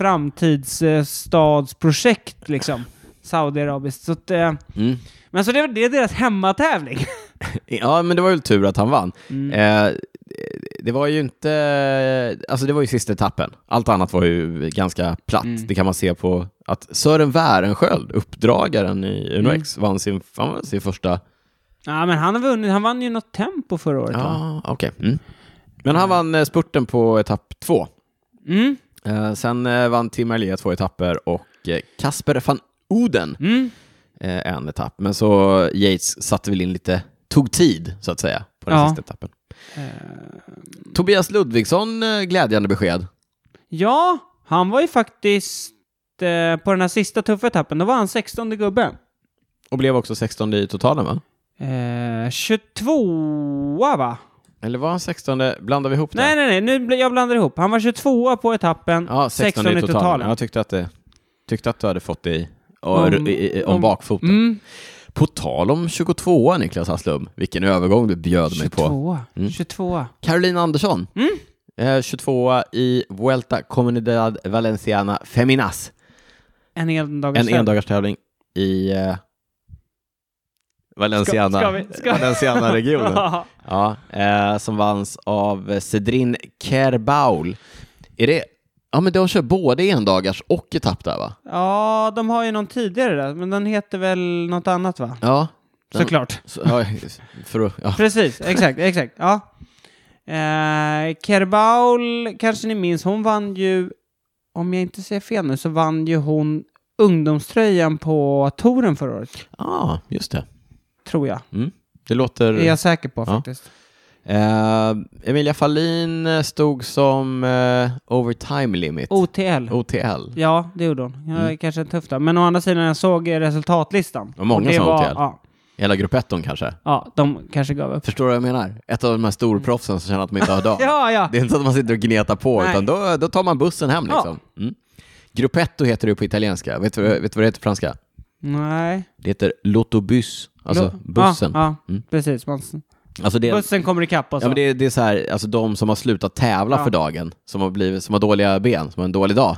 S2: framtidsstadsprojekt liksom. Saudiarabiskt. Så att, eh,
S1: Mm.
S2: men så det, det är deras hemmatävling.
S1: Ja, men det var väl tur att han vann. Eh, det var ju inte, alltså det var ju sista etappen. Allt annat var ju ganska platt. Det kan man se på att Sören Wärensköld, uppdragaren i UNOX, vann sin, han vann sin första,
S2: Ja, men han har vunnit. Han vann ju något tempo förra året. va?
S1: ja, okej. Mm. Men han vann eh, spurten på etapp två.
S2: Mm.
S1: Eh, sen eh, vann Tim Erlia två etapper och eh, Kasper van Oden
S2: Mm.
S1: eh, en etapp. Men så Yates satte väl in lite, tog tid så att säga på den
S2: Ja. Eh.
S1: sista etappen. Tobias Ludvigsson, eh, glädjande besked.
S2: Ja, han var ju faktiskt eh, på den här sista tuffa etappen, då var han 16 gubbe.
S1: Och blev också 16 i totalen va?
S2: Eh, 22 va?
S1: Eller var han 16? Blandar vi ihop det?
S2: Nej, nej, nej, nu, bl- jag blandar ihop. Han var 22 på etappen,
S1: ja, 16,
S2: 16
S1: i totalen. Jag tyckte att, det, tyckte att du hade fått det i, om,
S2: Om-
S1: i, i, om
S2: om-
S1: bakfoten.
S2: Mm,
S1: På tal om 22 Niklas Hasslum, vilken övergång du bjöd mig på. Mm.
S2: 22. 22.
S1: Caroline Andersson,
S2: Mm.
S1: eh, 22 i Vuelta Comunidad Valenciana Feminas.
S2: En endagarstävling.
S1: En endagarstävling i eh, Valenciana,
S2: Ska- ska vi- ska-
S1: Valenciana-regionen.
S2: Ja.
S1: Ja, eh, som vanns av Cedrin Kerbaul. Är det... Ja, men de kör både endagars och etapp där, va?
S2: ja, de har ju någon tidigare där, men den heter väl något annat va?
S1: Ja. Den-
S2: Såklart.
S1: Så, ja, för att, ja.
S2: Precis, exakt, exakt. Ja. Eh, Kerbaul, kanske ni minns, hon vann ju, om jag inte säger fel nu, så vann ju hon ungdomströjan på touren förra året,
S1: Ah, just det.
S2: tror jag.
S1: Mm. Det
S2: Det är
S1: låter...
S2: jag säker på
S1: Ja.
S2: faktiskt.
S1: Eh, Emilia Fahlin eh, stod som eh, overtime limit.
S2: OTL.
S1: OTL.
S2: Ja, det gjorde hon. Ja,
S1: Mm.
S2: Kanske en tuff då. Men å andra sidan, jag såg eh, resultatlistan.
S1: Och många
S2: det
S1: som
S2: var-
S1: OTL.
S2: Ja,
S1: Hela grupp etton kanske.
S2: ja, de kanske gav upp.
S1: Förstår du vad jag menar? Ett av de här storproffsen som känner att de inte har dag.
S2: Ja, ja.
S1: Det är inte så att man sitter och gnetar på,
S2: Nej.
S1: utan då, då tar man bussen hem
S2: Ja.
S1: liksom. Mm. Gruppetto heter det på italienska. Vet du, vet du vad det heter på franska?
S2: Nej.
S1: Det heter l'autobus, alltså
S2: Lo-
S1: bussen.
S2: Ja, ja
S1: Mm.
S2: precis. Man-
S1: Alltså det, är-
S2: Bussen kommer ikapp och så.
S1: ja, men det, är- det är så här, alltså de som har slutat tävla
S2: Ja. Mm.
S1: för dagen, som har, blivit, som har dåliga ben, som har en dålig dag,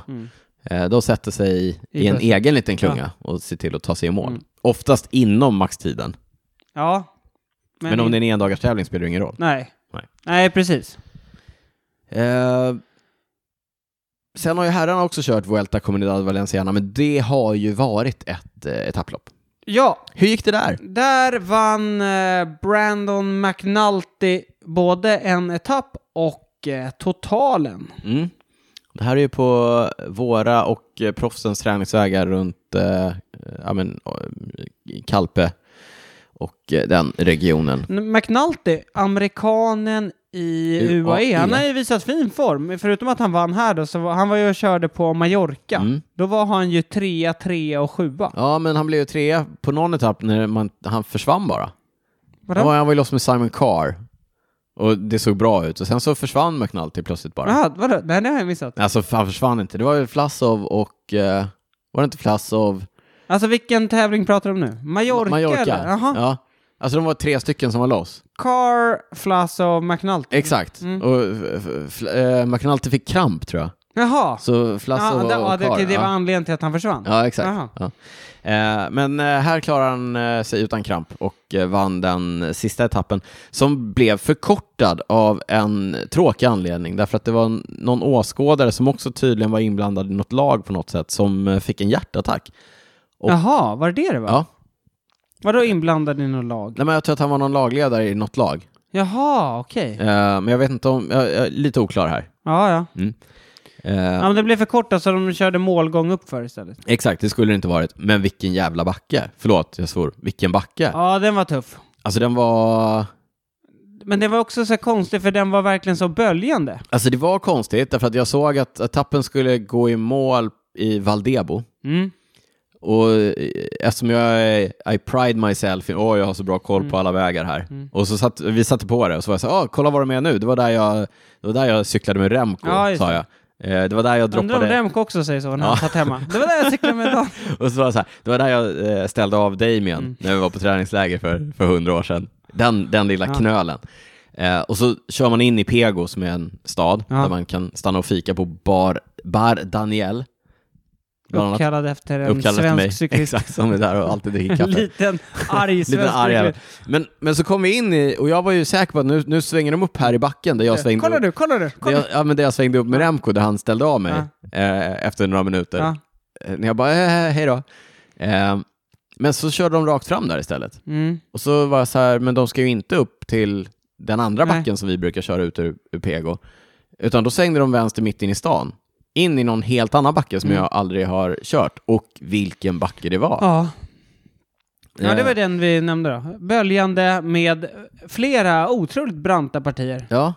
S1: eh, de sätter sig i,
S2: I
S1: i en
S2: bussen. Mm.
S1: egen liten klunga och ser till att ta sig i mål. Oftast inom maxtiden.
S2: ja.
S1: Men, om det är en endagarstävling spelar det ingen roll.
S2: Nej.
S1: Nej.
S2: Nej, precis.
S1: Eh, sen har ju herrarna också kört Vuelta Comunidad Valenciana, men det har ju varit ett eh, etapplopp.
S2: Ja,
S1: Hur gick det där?
S2: där vann eh, Brandon McNulty både en etapp och eh, totalen.
S1: Mm. Det här är ju på våra och eh, proffsens träningsvägar runt eh, ja, men, eh, Kalpe och eh, den regionen.
S2: N- McNulty, amerikanen i UAE,
S1: UAE.
S2: han har ju visat fin form. Förutom att han vann här då, så var, han var ju och körde på Mallorca.
S1: Mm.
S2: Då var han ju trea, trea och sjua.
S1: Ja, men han blev ju trea på någon etapp när man, han försvann bara.
S2: Vadå?
S1: Han var, han var ju loss med Simon Carr och det såg bra ut. Och sen så försvann McNulty plötsligt bara.
S2: Jaha, vadå? Nej, det har jag missat.
S1: Alltså han försvann inte. Det var ju Flassov och... eh, var det inte Flassov?
S2: Alltså vilken tävling pratar du om nu? Mallorca? eller? Jaha.
S1: Ja. Alltså de var tre stycken som var loss.
S2: Carr, Flass och McNulty.
S1: Exakt.
S2: Mm.
S1: Och f- f- eh, McNulty fick kramp tror jag.
S2: Jaha.
S1: Så Flassov
S2: Ja, det, ja,
S1: och
S2: det,
S1: Carr.
S2: okej, det var
S1: ja.
S2: anledningen till att han försvann.
S1: ja, exakt.
S2: Jaha.
S1: Ja. Eh, men eh, här klarar han eh, sig utan kramp och eh, vann den sista etappen som blev förkortad av en tråkig anledning. Därför att det var n- någon åskådare som också tydligen var inblandad i något lag på något sätt som eh, fick en hjärtattack. Och-
S2: Jaha, var det det det var?
S1: Ja,
S2: Vadå inblandad i något lag?
S1: Nej, men jag tror att han var någon lagledare i något lag.
S2: Jaha, okej.
S1: Eh, men jag vet inte om, jag, jag är lite oklar här.
S2: Ja, ja.
S1: Eh,
S2: Ja, men det blev för korta så de körde målgång upp för istället.
S1: Exakt, det skulle det inte varit. Men vilken jävla backe. Förlåt, jag svor. Vilken backe.
S2: Ja, den var tuff.
S1: Alltså den var...
S2: Men det var också så här konstigt för den var verkligen så böljande.
S1: Alltså det var konstigt, därför att jag såg att etappen skulle gå i mål i Valdebo.
S2: Mm.
S1: Och eh, eftersom jag är, I pride myself in, åh jag har så bra
S2: Mm.
S1: koll på alla vägar här. Och så satt, vi satte på det och så var jag så här, "Ah, kolla var de är nu, det var där jag, det var där jag cyklade med Remco,
S2: Ja, just
S1: sa jag. Eh, det var där jag droppade...
S2: Undrar om Remco också säger så när han satt hemma. Det var där jag cyklade med idag.
S1: Och så var det så här, det var där jag eh,
S2: Mm.
S1: ställde av Damien när vi var på träningsläger för, för hundra år sedan. Den, den lilla knölen. Eh, Eh, och så kör man in i Pego som är en stad
S2: Ja.
S1: där man kan stanna och fika på Bar, bar Daniel. Bland annat.
S2: Uppkallad efter en
S1: Uppkallat efter mig.
S2: svensk cyklist.
S1: Exakt, som är där och alltid dricker
S2: En
S1: kaffe.
S2: liten arg
S1: Liten
S2: svensk
S1: arg jävel.
S2: cyklist.
S1: men, men så kom vi in i, och jag var ju säker på att nu, nu svänger de upp här i backen där jag svängde
S2: Kolla
S1: upp,
S2: du, kolla du!
S1: där
S2: Kolla.
S1: jag, ja, men där jag svängde upp med Remco där han ställde av mig eh, efter några minuter.
S2: Ja.
S1: Eh, När jag bara, eh, hej då. Eh, men så körde de rakt fram där istället.
S2: Mm.
S1: Och så var jag så här, men de ska ju inte upp till den andra
S2: Nej.
S1: backen som vi brukar köra ut ur, ur Pego. Utan då svängde de vänster mitt in i stan. In i någon helt annan backe som
S2: Mm.
S1: jag aldrig har kört. Och vilken backe det var.
S2: Ja. ja, det
S1: Eh,
S2: var den vi nämnde då. Böljande med flera otroligt branta partier.
S1: Ja,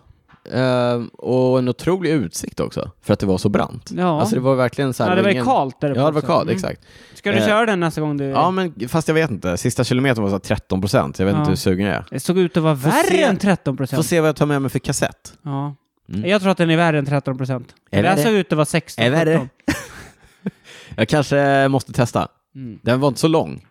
S1: ehm, och en otrolig utsikt också, för att det var så brant.
S2: Ja,
S1: Alltså det var verkligen så här...
S2: ja det var ju
S1: ingen-
S2: kallt där uppe
S1: Ja, det var
S2: också.
S1: kallt,
S2: Mm.
S1: exakt.
S2: Ska du
S1: Eh,
S2: köra den nästa gång du...
S1: Ja, men fast jag vet inte. Sista kilometern var så här 13 procent. Jag vet
S2: Ja.
S1: inte hur sugen jag är.
S2: Det såg ut att vara värre
S1: se.
S2: än 13
S1: Får
S2: procent.
S1: se vad jag tar med mig för kassett.
S2: Ja.
S1: Mm.
S2: Jag tror att den är värre än 13 procent.
S1: Är
S2: Det här
S1: det?
S2: såg ut att vara 16
S1: Är det det? Jag kanske måste testa.
S2: Mm.
S1: Den var inte så lång.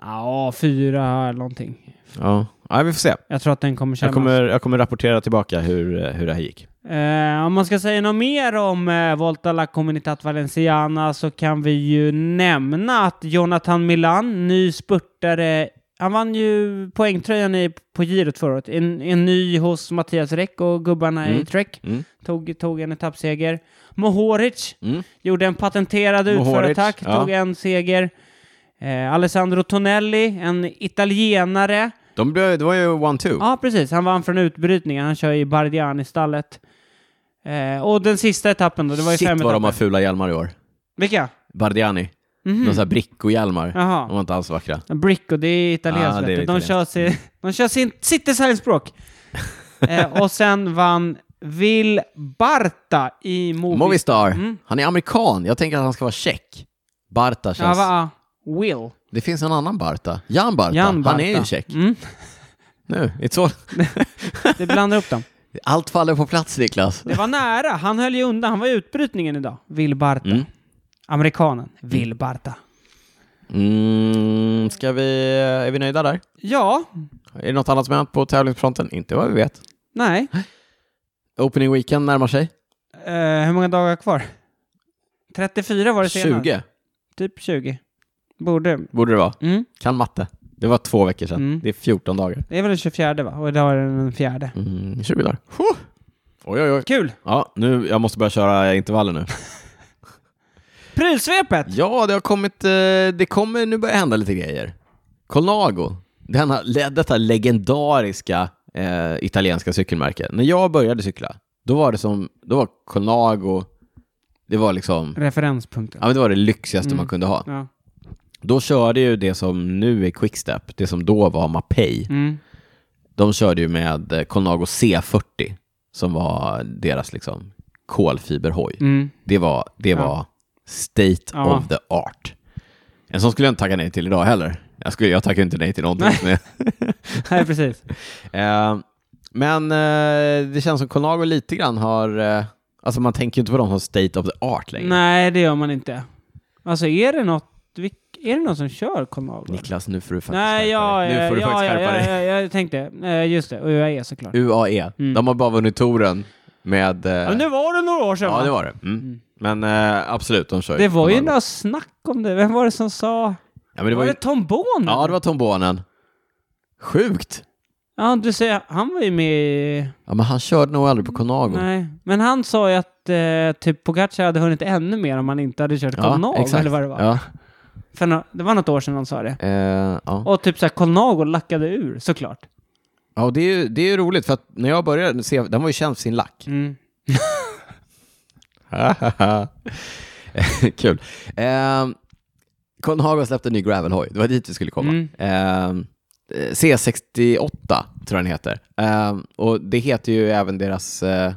S2: Ja, fyra eller någonting.
S1: Ja, ja vi får se.
S2: Jag tror att den kommer kännas.
S1: Jag kommer, jag kommer rapportera tillbaka hur, eh, hur det här gick.
S2: Eh, om man ska säga något mer om eh, Volta la Comunitat Valenciana så kan vi ju nämna att Jonathan Milan, ny spurtare, han vann ju poängtröjan i, på girot förra året. En, en ny hos Mattias Räck och gubbarna i
S1: Mm.
S2: Trek.
S1: Mm.
S2: Tog, tog en etappseger. Mohoric
S1: Mm.
S2: gjorde en patenterad
S1: Mohoric,
S2: utförattack,
S1: ja.
S2: tog en seger. Eh, Alessandro Tonelli, en italienare,
S1: De blev, det var ju one-two.
S2: Ja, precis. Han vann från utbrytningen. Han kör i Bardiani-stallet. Eh, och den sista etappen då, det var ju
S1: Shit
S2: fem
S1: vad de har
S2: etapper.
S1: fula hjälmar i år.
S2: Vilka?
S1: Bardiani.
S2: Mhm.
S1: Någon sån här brickohjälmar.
S2: Jaha.
S1: De var inte alls vackra.
S2: Bricco, det är italienskt.
S1: Ah, det är
S2: vet du. de,
S1: italienskt.
S2: kör sin, de kör sin, sitt designspråk. eh, och sen vann Will Barta i Movi.
S1: Movistar.
S2: Mm.
S1: Han är amerikan. Jag tänker att han ska vara tjeck. Barta
S2: Ja,
S1: känns...
S2: va, Will.
S1: Det finns en annan Barta. Jan Barta.
S2: Jan Barta.
S1: Han är ju tjeck.
S2: Mm.
S1: Nu, it's all...
S2: Det blandar upp dem.
S1: Allt faller på plats, Niklas.
S2: Det var nära. Han höll ju undan. Han var i utbrytningen idag. Will Barta.
S1: Mm.
S2: Amerikanen. Will Barta.
S1: Mm, ska vi... Är vi nöjda där?
S2: Ja.
S1: Är det något annat som har hänt på tävlingsfronten? Inte vad vi vet.
S2: Nej.
S1: Opening weekend närmar sig.
S2: Eh, hur många dagar kvar? 34 var det senast.
S1: 20
S2: Typ 20. Borde.
S1: borde det vara.
S2: Mm.
S1: Kan matte. Det var två veckor sedan.
S2: Mm.
S1: Det är 14 dagar.
S2: Det är väl den 24 va? Och idag är det den fjärde.
S1: Mm, 20 dagar. Huh. Oj, oj, oj.
S2: Kul!
S1: Ja, nu, jag måste börja köra intervaller nu.
S2: Prylsvepet!
S1: Ja, det har kommit, eh, det kommer, nu börjar hända lite grejer. Colnago, denna, le- detta legendariska eh, italienska cykelmärke. När jag började cykla, då var det som, då var Colnago, det var liksom,
S2: Referenspunkten.
S1: ja men det var det lyxigaste
S2: Mm.
S1: man kunde ha.
S2: Ja.
S1: Då körde ju det som nu är Quickstep, det som då var Mapei,
S2: Mm.
S1: de körde ju med eh, Colnago C40, som var deras liksom kolfiberhoj.
S2: Mm.
S1: Det var, det
S2: Ja.
S1: var state
S2: Ja.
S1: of the art. En sån skulle jag inte tacka nej till idag heller. Jag, skulle, jag tackar inte nej till någonting. som är-
S2: Nej, precis.
S1: Eh, men eh, det känns som Colnago lite grann har... eh, alltså man tänker ju inte på dem som state of the art längre.
S2: Nej, det gör man inte. Alltså är det något, vilk- är det någon som kör Conago?
S1: Niklas, nu får du faktiskt
S2: Nej,
S1: skärpa
S2: ja,
S1: dig. Nu
S2: ja,
S1: får du
S2: ja,
S1: faktiskt
S2: ja,
S1: skärpa
S2: ja,
S1: dig.
S2: ja, jag tänkte. Eh, Just det, och UAE såklart.
S1: UAE,
S2: Mm.
S1: E. de har bara vunnit touren med... eh,
S2: Ja, men det var det några år sedan
S1: ja,
S2: va?
S1: det var det. Mm.
S2: Mm.
S1: Men eh, absolut, de kör
S2: Det var ju
S1: Colnago.
S2: några snack om det. Vem var det som sa?
S1: Ja, men det var ju...
S2: Tom Bohn?
S1: ja, det var tombonen. Sjukt!
S2: Ja, du säger, han var ju med i...
S1: Ja, men han körde nog aldrig på Colnago.
S2: Mm. Nej, men han sa ju att eh, typ Pogacar hade hunnit ännu mer om han inte hade kört Colnago eller vad det var.
S1: Ja,
S2: För nå- det var något år sedan han sa det.
S1: eh, ja.
S2: Och typ såhär Colnago lackade ur såklart.
S1: Ja, och det är ju det är ju roligt för att när jag började se, den var ju känd för sin lack.
S2: Mm.
S1: Kul. Eh, Conhago släppte en ny gravelhoj, det var dit vi skulle komma.
S2: Mm.
S1: Eh, C68 tror jag den heter. Eh, och det heter ju även deras eh,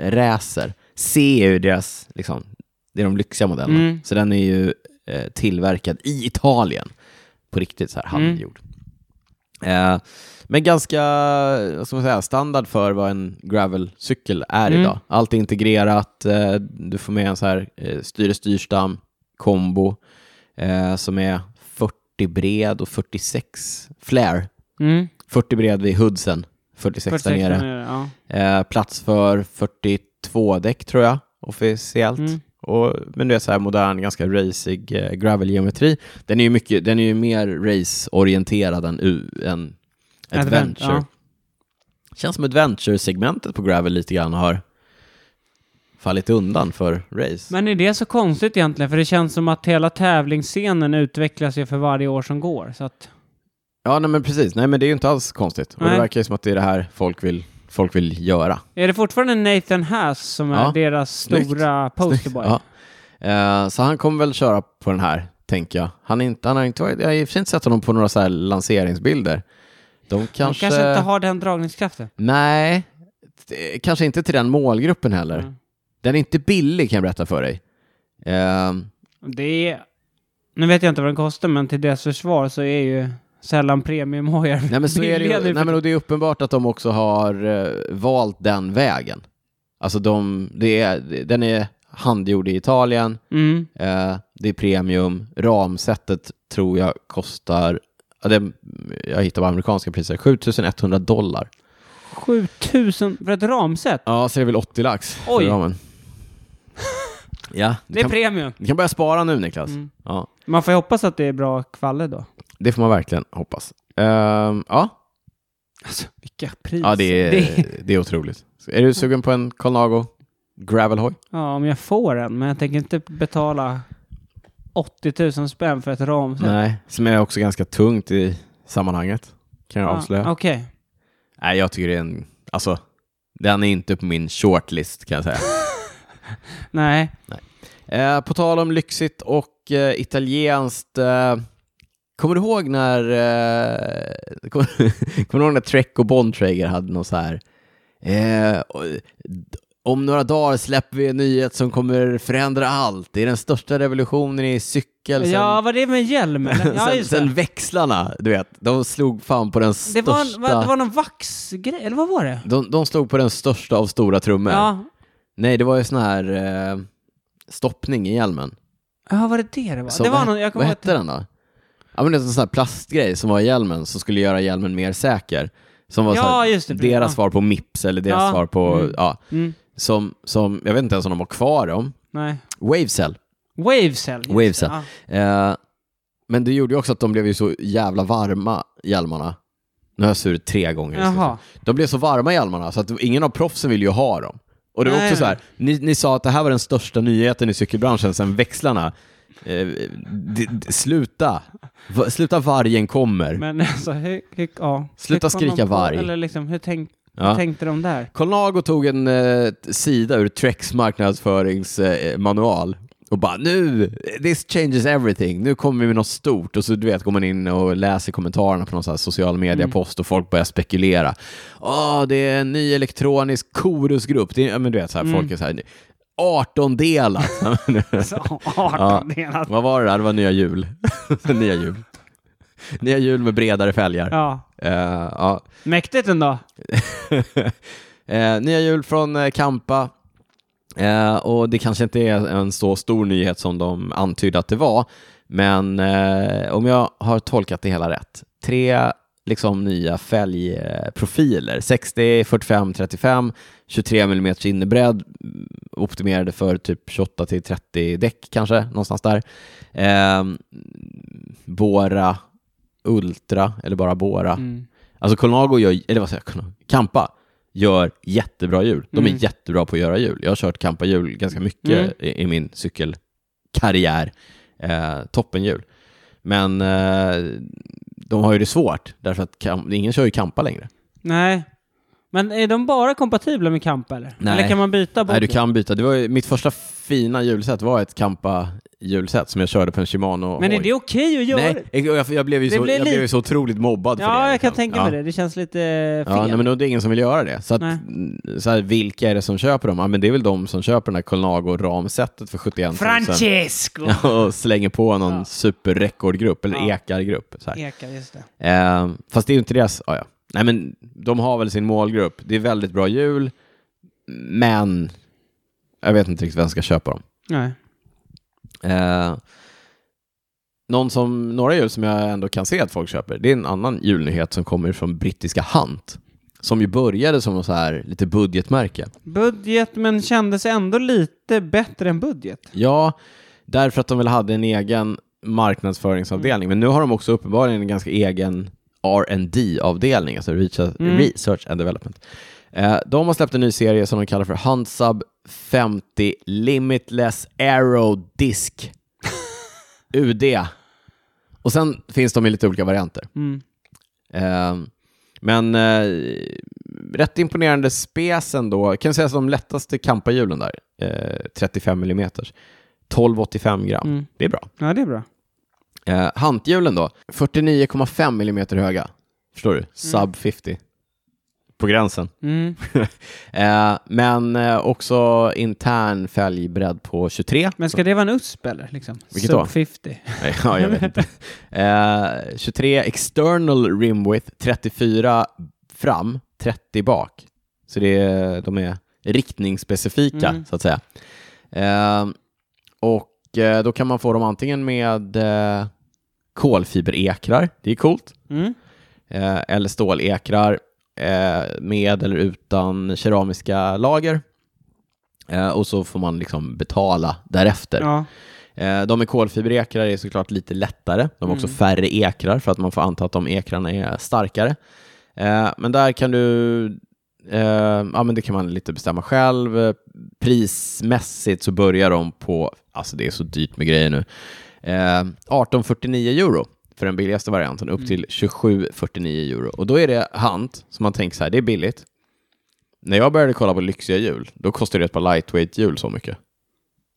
S1: racer. C är ju deras, liksom, det är de lyxiga modellerna.
S2: Mm.
S1: Så den är ju eh, tillverkad i Italien. På riktigt så här
S2: Mm.
S1: handgjord. Eh, men ganska vad ska man säga, standard för vad en gravelcykel är
S2: Mm.
S1: idag. Allt är integrerat, eh, du får med en så här eh, styre-styrstam, kombo, eh, som är 40 bred och 46 flare.
S2: Mm.
S1: 40 bred vid hoodsen, 46 där
S2: 46 där
S1: nere.
S2: nere, ja.
S1: Eh, plats för 42 däck tror jag, officiellt.
S2: Mm.
S1: Och, men det är så här modern, ganska racig eh, gravelgeometri. Den är ju, mycket, den är ju mer raceorienterad än, u- än adventure.
S2: Advent, ja.
S1: Känns som adventure-segmentet på gravel lite grann har fallit undan för race.
S2: Men är det så konstigt egentligen? För det känns som att hela tävlingsscenen utvecklas ju för varje år som går. Så att,
S1: Ja, nej men precis. Nej, men det är ju inte alls konstigt. Och det
S2: Nej.
S1: verkar ju som att det är det här folk vill, folk vill göra.
S2: är det fortfarande Nathan Haas som är
S1: Ja.
S2: deras
S1: Snyggt.
S2: stora posterboy?
S1: Ja. Eh, så han kommer väl köra på den här, tänker jag. Han, är inte, han har inte varit, jag har i och för sig inte sett honom på några så här lanseringsbilder. De
S2: Han
S1: kanske...
S2: kanske inte har den dragningskraften.
S1: Nej, det- kanske inte till den målgruppen heller.
S2: Mm.
S1: Den är inte billig kan jag berätta för dig. Eh,
S2: Det är... Nu vet jag inte vad den kostar, men till deras försvar så är ju sällan premiumhojar
S1: nej, men så är det, ju,
S2: billiga nu för
S1: nej, men och det är uppenbart att de också har eh, valt den vägen. Alltså de, det är, den är handgjord i Italien.
S2: Mm.
S1: Eh, det är premium. Ramsättet tror jag kostar, ja, det, jag hittar på amerikanska priser, 7100 dollar.
S2: 7000 för ett ramset?
S1: Ja, så det är väl 80 lax för
S2: Oj.
S1: ramen. ja,
S2: Det
S1: du
S2: är
S1: kan,
S2: premium.
S1: du kan börja spara nu Niklas.
S2: Mm.
S1: Ja,
S2: Man får ju hoppas att det är bra kvalle då.
S1: det får man verkligen hoppas. Ehm, ja,
S2: Alltså, vilka priser.
S1: ja det, är, det är otroligt. Är du sugen på en Colnago Gravelhoj?
S2: Ja, om jag får en, men jag tänker inte betala 80 000 spänn för ett ramset.
S1: Nej, som är också ganska tungt i sammanhanget. Kan jag
S2: Ja,
S1: avslöja.
S2: Okej.
S1: Nej, jag tycker det är en, alltså, den är inte på min shortlist kan jag säga.
S2: Nej.
S1: Eh, på tal om lyxigt och eh, italienskt. Eh, kommer du ihåg när eh, kommer, kommer du ihåg när Trek och Bontrager hade något så här? Eh, och- om några dagar släpper vi en nyhet som kommer förändra allt. Det är den största revolutionen i cykel sen,
S2: Ja, var det med hjälm eller? Ja,
S1: sen,
S2: just det.
S1: sen växlarna. Du vet, de slog fan på den
S2: Det
S1: största.
S2: var, en- va- det var någon vaxgrej, eller vad var det?
S1: de, de slog på den största av stora trummor.
S2: Ja.
S1: Nej, det var ju sån här eh, stoppning i hjälmen.
S2: ja, var det det det var?
S1: Så
S2: det var
S1: vad-
S2: någon, jag
S1: Vad
S2: kommer ihåg
S1: hette den då? Ja men det är en sån här plastgrej som var i hjälmen som skulle göra hjälmen mer säker. Som var
S2: Ja,
S1: så här,
S2: just det, precis.
S1: deras
S2: Ja.
S1: svar på Mips eller deras
S2: Ja.
S1: svar på,
S2: Mm.
S1: ja,
S2: att- Mm,
S1: som, som, jag vet inte ens om de har kvar dem.
S2: nej.
S1: Wavecell.
S2: Wavecell. just det.
S1: Wavecell.
S2: Ja.
S1: Eh, men det gjorde ju också att de blev ju så jävla varma, hjälmarna. Nu har jag surit tre gånger.
S2: Jaha.
S1: De blev så varma hjälmarna så att ingen av proffsen ville ju ha dem. Och det var
S2: Nej,
S1: också så här,
S2: nej.
S1: ni, ni sa att det här var den största nyheten i cykelbranschen sedan växlarna. Eh, d, d, sluta! Va, sluta vargen kommer.
S2: Men alltså, hur, hur, ja.
S1: Sluta
S2: hur kom de
S1: skrika
S2: på-
S1: varg.
S2: Eller liksom, hur, tänk, hur
S1: ja.
S2: tänkte de där?
S1: Colnago tog en eh, sida ur Treks marknadsföringsmanual eh, manual och bara nu, this changes everything, nu kommer vi med något stort och så du vet går man in och läser kommentarerna på någon sån här social media-post och folk börjar spekulera. Åh, det är en ny elektronisk korusgrupp, det är, ja, men du vet så här, folk är så här 18 delar.
S2: Så,
S1: Ja.
S2: 18 delar.
S1: Vad var det där? Det var nya hjul. nya hjul. Nya hjul med bredare fälgar.
S2: Ja.
S1: Eh, ja.
S2: Mäktigt ändå.
S1: Eh, nya hjul från eh, Kampa. Eh, och det kanske inte är en så stor nyhet som de antydde att det var, men eh, om jag har tolkat det hela rätt, tre liksom nya fälgprofiler, 60, 45, 35, 23 mm innerbredd, mm, optimerade för typ 28 till 30 däck kanske, någonstans där. Eh, Bora Ultra, eller bara Bora.
S2: Mm.
S1: Alltså Colnago gör, eller vad säger jag, Colnago? Kampa gör jättebra hjul. De är
S2: Mm.
S1: jättebra på att göra hjul. Jag har kört Kampa-hjul ganska mycket
S2: Mm.
S1: i, i min cykelkarriär. Eh, toppenhjul. Men eh, de har ju det svårt, därför att kam- ingen kör ju Kampa längre.
S2: Nej. Men är de bara kompatibla med Kampa eller?
S1: Nej.
S2: Eller kan man byta bort?
S1: Nej, du kan byta. Det var ju, mitt första fina hjulset var ett Kampa-hjulset som jag körde på en Shimano.
S2: Men är
S1: Oj.
S2: det okej att göra?
S1: Nej, jag, jag, blev ju
S2: Det
S1: så,
S2: blir
S1: jag blev ju
S2: lite-
S1: så otroligt mobbad för det.
S2: Ja, jag kan
S1: liksom.
S2: tänka
S1: Ja.
S2: mig det. Det känns lite fel.
S1: Ja, nej, men då är det ingen som vill göra det. Så, att,
S2: Nej.
S1: mm, så här, vilka är det som köper dem? Ja, men det är väl de som köper den här Colnago ramsättet för 71 000
S2: Francesco!
S1: Ja, och slänger på någon
S2: Ja.
S1: superrekordgrupp eller
S2: Ja.
S1: ekargrupp. Så här.
S2: Eka, just det.
S1: Eh, fast det är ju inte deras... Ja, ja. Nej, men de har väl sin målgrupp. Det är väldigt bra hjul, men jag vet inte riktigt vem som ska köpa dem.
S2: Nej.
S1: Eh, någon som, några hjul som jag ändå kan se att folk köper, det är en annan julnyhet som kommer från brittiska Hunt. Som ju började som en så här lite budgetmärke.
S2: Budget, men kändes ändå lite bättre än budget.
S1: Ja, därför att de väl hade en egen marknadsföringsavdelning. Men nu har de också uppenbarligen en ganska egen rd avdelning alltså Research,
S2: Mm.
S1: Research and Development. Eh, de har släppt en ny serie som de kallar för Hansab 50 Limitless Aero Disc UD. Och sen finns de i lite olika varianter.
S2: Mm.
S1: Eh, men eh, rätt imponerande spes ändå. Kan sägas de lättaste kampahjulen där. Eh, 35 mm. 1285 gram.
S2: Mm.
S1: Det är bra.
S2: Ja, det är bra.
S1: Eh, hanthjulen då. 49,5 mm höga. Förstår du? Sub 50. På gränsen.
S2: Mm.
S1: Eh, men eh, också intern fälgbredd på 23.
S2: Men ska det vara en USP eller? Liksom?
S1: Vilket
S2: Sub
S1: då?
S2: 50.
S1: Nej, ja, jag vet inte. Eh, 23 external rim width, 34 fram, 30 bak. Så det är, de är riktningsspecifika,
S2: Mm.
S1: så att säga. Eh, och eh, då kan man få dem antingen med eh, kolfiberekrar, det är coolt,
S2: Mm.
S1: eh, eller stålekrar eh, med eller utan keramiska lager. Eh, och så får man liksom betala därefter.
S2: Ja.
S1: Eh, De med kolfiberekrar är såklart lite lättare. De har också färre ekrar för att man får anta att de ekrarna är starkare. Eh, Men där kan du, eh, ja men det kan man lite bestämma själv. Eh, Prismässigt så börjar de på, alltså det är så dyrt med grejer nu, eh, 18,49 euro för den billigaste varianten upp till 27,49 euro. Och då är det hand, som man tänker så här, det är billigt. När jag började kolla på lyxiga hjul, då kostade ett par lightweight-hjul så mycket.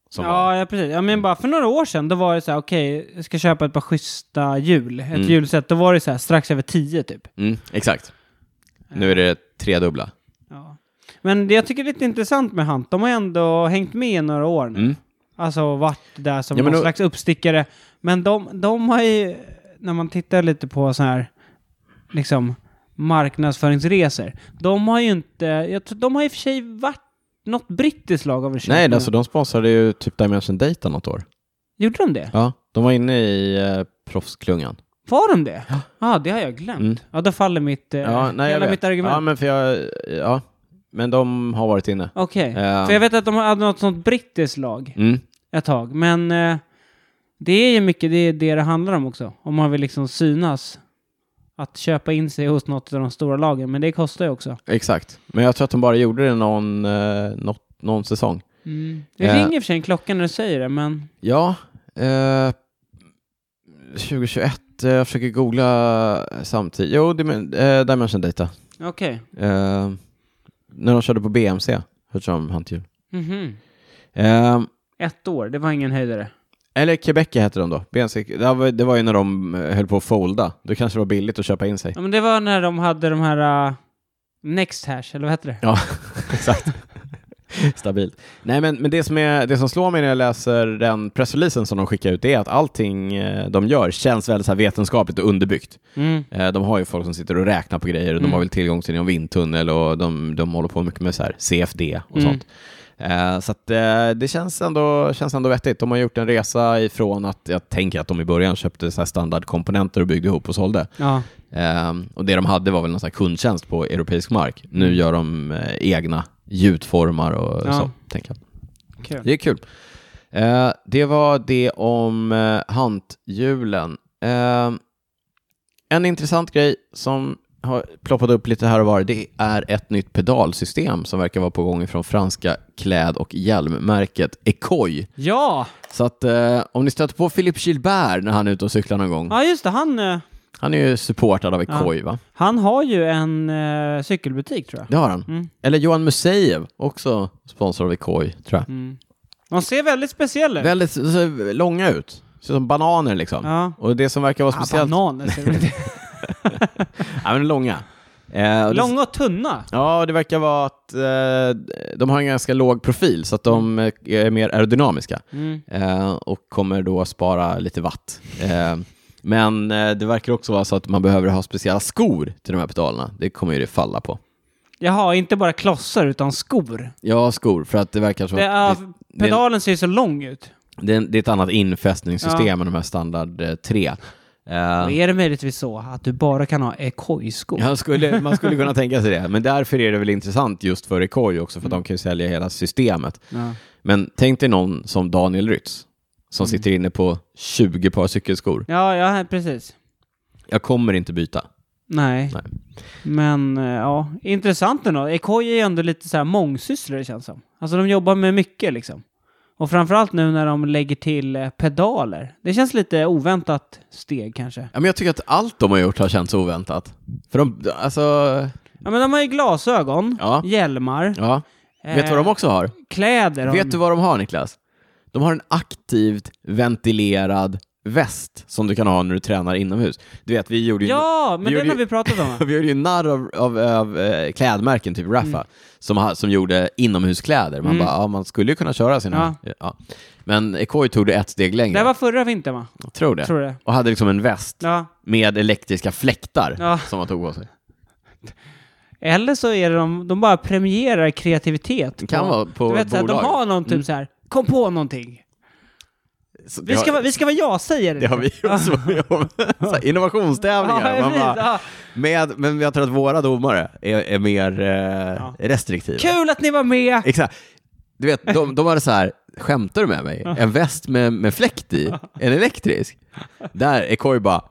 S1: Som var-
S2: Ja, ja, precis. Ja, men bara för några år sedan, då var det så här, okej, jag ska köpa ett par schyssta hjul. Ett
S1: Mm.
S2: hjulset, då var det så här strax över 10 typ.
S1: Mm, exakt. Nu är det tredubbla.
S2: Ja. Men det jag tycker är lite intressant med Hunt, de har ändå hängt med i några år nu.
S1: Mm.
S2: Alltså varit där som
S1: Ja, men
S2: någon
S1: då-
S2: slags uppstickare. Men de, de har ju, när man tittar lite på så här, liksom marknadsföringsresor. De har ju inte, jag tror, de har i och för sig varit något brittiskt lag av
S1: Nej, alltså de sponsrade ju typ Dimension Data något år.
S2: Gjorde de det?
S1: Ja. De var inne i eh, proffsklungan.
S2: Var de det? Ja, ah, det har jag glömt.
S1: Mm.
S2: Ja, då faller mitt, eh,
S1: Ja, nej, jag
S2: hela
S1: vet.
S2: mitt argument.
S1: Ja, men för jag... Ja. Men de har varit inne.
S2: Okej,
S1: Ja.
S2: för jag vet att de hade något sånt brittiskt lag
S1: Mm.
S2: ett tag, men eh, det är ju mycket det, är det det handlar om också, om man vill liksom synas. Att köpa in sig hos något av de stora lagen, men det kostar ju också.
S1: Exakt. Men jag tror att de bara gjorde det någon, eh, något, någon säsong.
S2: Det
S1: Ja.
S2: ringer i och för sig en klocka när du säger det, men
S1: Ja. Eh, 2021. eh, Jag försöker googla samtidigt. Jo, Dim- eh, Dimension Data.
S2: okej.
S1: Eh, när de körde på BMC. Hörde de handhjul.
S2: Mhm.
S1: Eh,
S2: Ett år, det var ingen höjdare.
S1: Eller Quebec hette de då. BNC. Det var- Det var ju när de eh, höll på att folda. Då kanske det var billigt att köpa in sig.
S2: Ja, men det var när de hade de här uh, Next Hash, eller vad heter det?
S1: Ja, exakt. Stabilt. Nej, men, men det, som är, det som slår mig när jag läser den pressreleasen som de skickar ut det är att allting eh, de gör känns väldigt så här vetenskapligt och underbyggt.
S2: Mm.
S1: Eh, De har ju folk som sitter och räknar på grejer och
S2: Mm.
S1: de har väl tillgång till någon vindtunnel och de, de håller på mycket med så här CFD och
S2: Mm.
S1: sånt. Eh, Så att eh, det känns ändå, känns ändå vettigt. De har gjort en resa ifrån att jag tänker att de i början köpte så här standardkomponenter och byggde ihop och sålde.
S2: Ja.
S1: Ehm, och det de hade var väl någon sån här kundtjänst på europeisk mark. Nu gör de eh, egna gjutformar och
S2: Mm. Ja.
S1: så, tänker jag.
S2: Kul.
S1: Det är kul. Eh, det var det om eh, hanthjulen. Eh, en intressant grej som har ploppat upp lite här och var, det är ett nytt pedalsystem som verkar vara på gång från franska kläd och hjälmmärket Ecoy.
S2: Ja!
S1: Så att eh, om ni stöter på Philippe Gilbert när han är ute och cyklar någon gång,
S2: ja, just det. Han, eh,
S1: han är ju supportad av Ecoy va?
S2: han har ju en eh, cykelbutik, tror jag.
S1: Det har han.
S2: Mm.
S1: Eller Johan Museev, också sponsor av Ekoj, tror jag.
S2: Mm. De ser väldigt speciella ut.
S1: Väldigt så, så, långa ut. Ser ut som bananer liksom.
S2: Ja.
S1: Och det som verkar vara
S2: Ah,
S1: speciellt...
S2: bananer ser de ut.
S1: ja, men långa. Eh, och det-
S2: Långa och tunna.
S1: Ja, och det verkar vara att eh, de har en ganska låg profil, så att de eh, är mer aerodynamiska.
S2: Mm.
S1: Eh, och kommer då spara lite watt. Eh, men eh, det verkar också vara så att man behöver ha speciella skor till de här pedalerna. Det kommer ju det falla på.
S2: Jaha, inte bara klossar utan skor.
S1: Ja, skor, för att det verkar som
S2: Det
S1: att...
S2: är, pedalen ser ju så lång ut.
S1: Det är, det är ett annat infästningssystem än de här standard 3. Eh,
S2: Och är det möjligtvis så att du bara kan ha ekojskor?
S1: jag skulle, man skulle kunna tänka sig det, men därför är det väl intressant just för Ekoj också, för de kan ju sälja hela systemet.
S2: Ja.
S1: Men tänk dig någon som Daniel Rytz, som sitter inne på 20 par cykelskor.
S2: Ja, ja, precis.
S1: Jag kommer inte byta.
S2: Nej.
S1: Nej.
S2: Men eh, ja, intressant ändå. Ekoj är ju ändå lite så här mångsysslare känns som. Alltså de jobbar med mycket liksom. Och framförallt nu när de lägger till eh, pedaler. Det känns lite oväntat steg kanske.
S1: Ja, men jag tycker att allt de har gjort har känts oväntat. För de, alltså,
S2: Ja men de har ju glasögon,
S1: Ja.
S2: hjälmar, eh,
S1: ja. Vet du vad de också har?
S2: kläder. har de-
S1: Vet du vad de har Niklas? De har en aktivt ventilerad väst som du kan ha när du tränar inomhus. Du vet, vi gjorde ju...
S2: Ja,
S1: vi
S2: men den
S1: gjorde
S2: har
S1: ju-
S2: vi pratat om. va?
S1: Vi gjorde ju narr av, av, av eh, klädmärken, typ Raffa, som, ha- som gjorde inomhuskläder. Man
S2: Mm.
S1: bara, ja, man skulle ju kunna köra sina... Ja. Men Ekoi tog det ett steg
S2: Det
S1: längre.
S2: här var förra vintern va?
S1: Jag tror det.
S2: Tror det.
S1: Och hade liksom en väst
S2: Ja.
S1: med elektriska fläktar
S2: Ja.
S1: som man tog på sig.
S2: Eller så är det de, de bara premierar kreativitet.
S1: Det kan
S2: på,
S1: vara på
S2: du vet, så här, de
S1: bolag.
S2: har någon typ så här, kom på någonting.
S1: Så det
S2: Vi ska,
S1: har,
S2: vara- vi ska vara jag säger
S1: det har vi gjort så mycket om. Så här, Innovationstävlingar.
S2: liksom. Ja,
S1: man
S2: precis,
S1: bara,
S2: ja.
S1: med, men jag tror att våra domare är, är mer eh, restriktiva.
S2: Kul att ni var med!
S1: Exakt. Du vet, de, de hade så här, skämtar du med mig? En väst med, med fläkt i? En elektrisk? Där är Koi bara,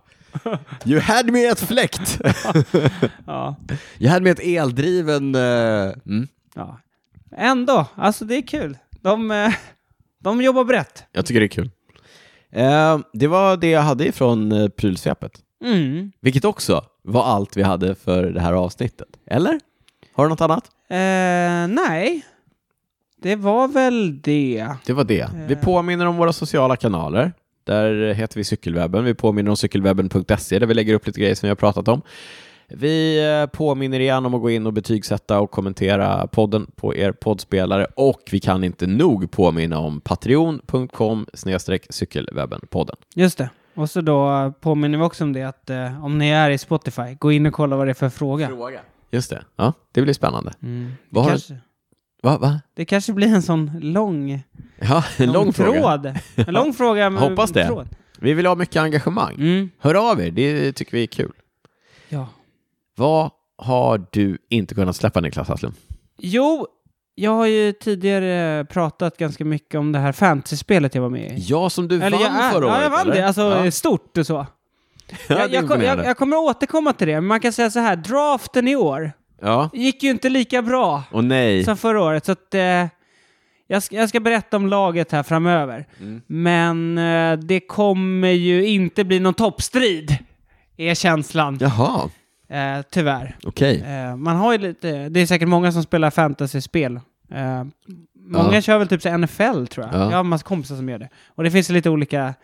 S1: you had me at fläkt.
S2: Ja.
S1: You had me at eldriven... eh, mm.
S2: Ja. Ändå, alltså det är kul. De, eh, de jobbar brett.
S1: Jag tycker det är kul. Eh, det var det jag hade ifrån eh, prylsvepet.
S2: Mm.
S1: Vilket också var allt vi hade för det här avsnittet. Eller? Har du något annat?
S2: Eh, nej, det var väl det.
S1: Det var det. Vi påminner om våra sociala kanaler. Där heter vi Cykelwebben. Vi påminner om cykelwebben.se där vi lägger upp lite grejer som vi har pratat om. Vi eh, påminner igen om att gå in och betygsätta och kommentera podden på er poddspelare och vi kan inte nog påminna om patreon.com cykelwebbenpodden.
S2: Just det. Och så då påminner vi också om det att eh, om ni är i Spotify, gå in och kolla vad det är för fråga.
S1: Fråga. Just det. Ja, det blir spännande.
S2: Mm. Det,
S1: Vad har-
S2: kanske,
S1: Va? va?
S2: det kanske blir en sån lång,
S1: Ja, en lång fråga.
S2: tråd. En lång fråga. med-
S1: Hoppas det.
S2: Tråd.
S1: Vi vill ha mycket engagemang.
S2: Mm.
S1: Hör av er, det tycker vi är kul.
S2: Ja.
S1: Vad har du inte kunnat släppa Niklas Hasslum?
S2: Jo, jag har ju tidigare pratat ganska mycket om det här fantasy-spelet jag var med i.
S1: Ja, som du vann
S2: jag,
S1: förra året.
S2: Ja, jag vann
S1: eller?
S2: det. Alltså
S1: ja.
S2: stort och så.
S1: Ja, det
S2: jag,
S1: är
S2: jag, kom- jag,
S1: imponerande.
S2: jag kommer återkomma till det, men man kan säga så här. Draften i år
S1: ja.
S2: gick ju inte lika bra
S1: Och nej.
S2: som förra året, så att... Eh, jag ska, jag ska berätta om laget här framöver.
S1: Mm.
S2: Men eh, det kommer ju inte bli någon toppstrid, är känslan.
S1: Jaha,
S2: Eh, tyvärr.
S1: okej.
S2: Eh, man har ju lite, det är säkert många som spelar fantasyspel. Eh, många
S1: Ja.
S2: kör väl typ så här NFL tror jag.
S1: Ja.
S2: Jag har en massa kompisar som gör det. Och det finns ju lite olika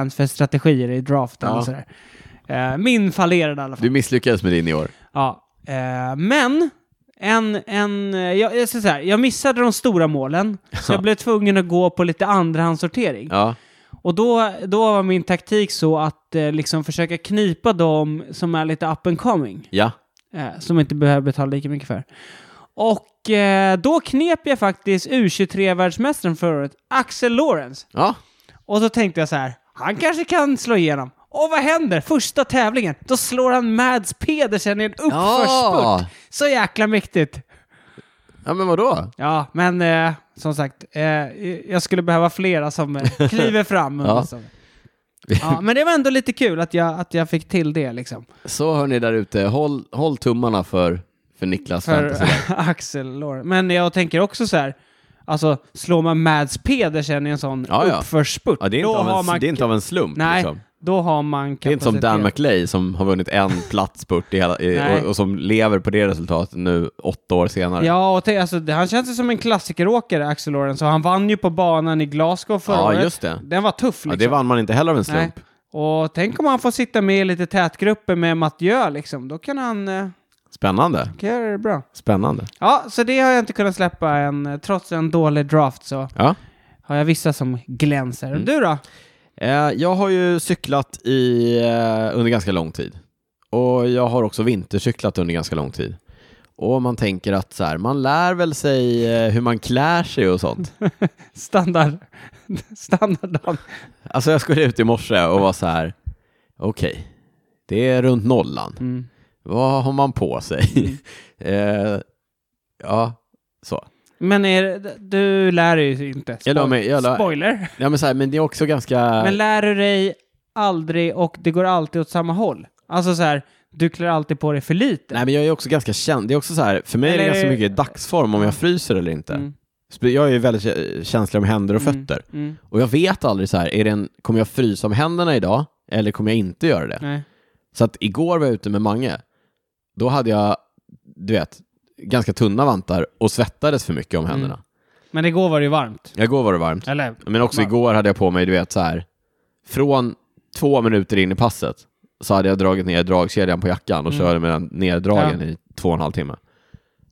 S2: transferstrategier i draften
S1: Ja.
S2: och sådär. Eh, min fallerade i alla fall.
S1: Du misslyckades med din i år.
S2: Ja. Eh, men, en, en, eh, jag, jag, ska säga så här, jag missade de stora målen, så jag blev tvungen att gå på lite andrahandssortering.
S1: Ja.
S2: Och då, då var min taktik så att eh, liksom försöka knipa de som är lite up and coming
S1: Ja.
S2: eh, som inte behöver betala lika mycket för. Och eh, då knep jag faktiskt U23-världsmästaren förra året, Axel Lawrence.
S1: Ja.
S2: Och så tänkte jag så här, han kanske kan slå igenom. Och vad händer? Första tävlingen, då slår han Mads Pedersen i en uppförsspurt.
S1: Ja.
S2: Så jäkla mäktigt.
S1: Ja, men vadå?
S2: Ja, men eh, som sagt, eh, jag skulle behöva flera som eh, kliver fram.
S1: Ja.
S2: Liksom. ja, men det var ändå lite kul att jag, att jag fick till det liksom.
S1: Så hör ni där ute, håll, håll tummarna för, för Niklas
S2: för
S1: fantasy.
S2: Axel Lauren. Men jag tänker också så här, alltså slår man Mads Pedersen i en sån
S1: Ja, ja.
S2: uppförsspurt,
S1: Ja, det, är inte
S2: då,
S1: av
S2: har
S1: en,
S2: man,
S1: det är inte av en slump.
S2: nej,
S1: Liksom.
S2: då har man
S1: Det är inte som Dan McLay som har vunnit en platt spurt i hela, i,
S2: Nej.
S1: och, och som lever på det resultatet nu åtta år senare.
S2: Ja, och tänk, alltså, det- han känns ju som en klassikeråkare, Axel Lauren, så han vann ju på banan i Glasgow förra
S1: Ja,
S2: året.
S1: just det.
S2: Den var tuff liksom.
S1: Ja, det vann man inte heller av en
S2: Nej.
S1: slump.
S2: Och tänk om han får sitta med i lite tätgrupper med Mathieu liksom, då kan han eh,
S1: Spännande.
S2: kan göra det bra.
S1: Spännande.
S2: Ja, så det har jag inte kunnat släppa än, eh, trots en dålig draft så
S1: Ja.
S2: har jag vissa som glänser.
S1: Mm.
S2: Du då?
S1: Eh, Jag har ju cyklat i, eh, under ganska lång tid. Och jag har också vintercyklat under ganska lång tid. Och man tänker att så här, man lär väl sig eh, hur man klär sig och sånt.
S2: Standard. Standard.
S1: Alltså jag skulle ut i morse och var så här, Okej, det är runt nollan.
S2: Mm.
S1: Vad har man på sig? eh, ja, så.
S2: Men är, det- du lär dig ju inte. Spoil-
S1: Jag la mig- jag la-
S2: Spoiler.
S1: Ja, men, så här, men det är också ganska...
S2: Men lär du dig aldrig och det går alltid åt samma håll? Alltså så här, du klär alltid på dig för lite.
S1: Nej, men jag är också ganska känd. Det är också så här, för mig är det
S2: Eller-
S1: ganska mycket dagsform om jag fryser eller inte.
S2: Mm,
S1: Spe- Jag är ju väldigt kä- känslig om händer och fötter.
S2: mm,
S1: Och jag vet aldrig så här, är det en, kommer jag frysa om händerna idag eller kommer jag inte göra det?
S2: nej.
S1: Så att igår var jag ute med Mange. Då hade jag, du vet, ganska tunna vantar och svettades för mycket
S2: Mm.
S1: om händerna.
S2: Men igår var det ju varmt.
S1: Igår var det varmt.
S2: Eller?
S1: Men också
S2: Varmt.
S1: igår hade jag på mig, du vet så här, från två minuter in i passet så hade jag dragit ner dragkedjan på jackan och
S2: Mm.
S1: körde med den neddragen i två och en halv timme.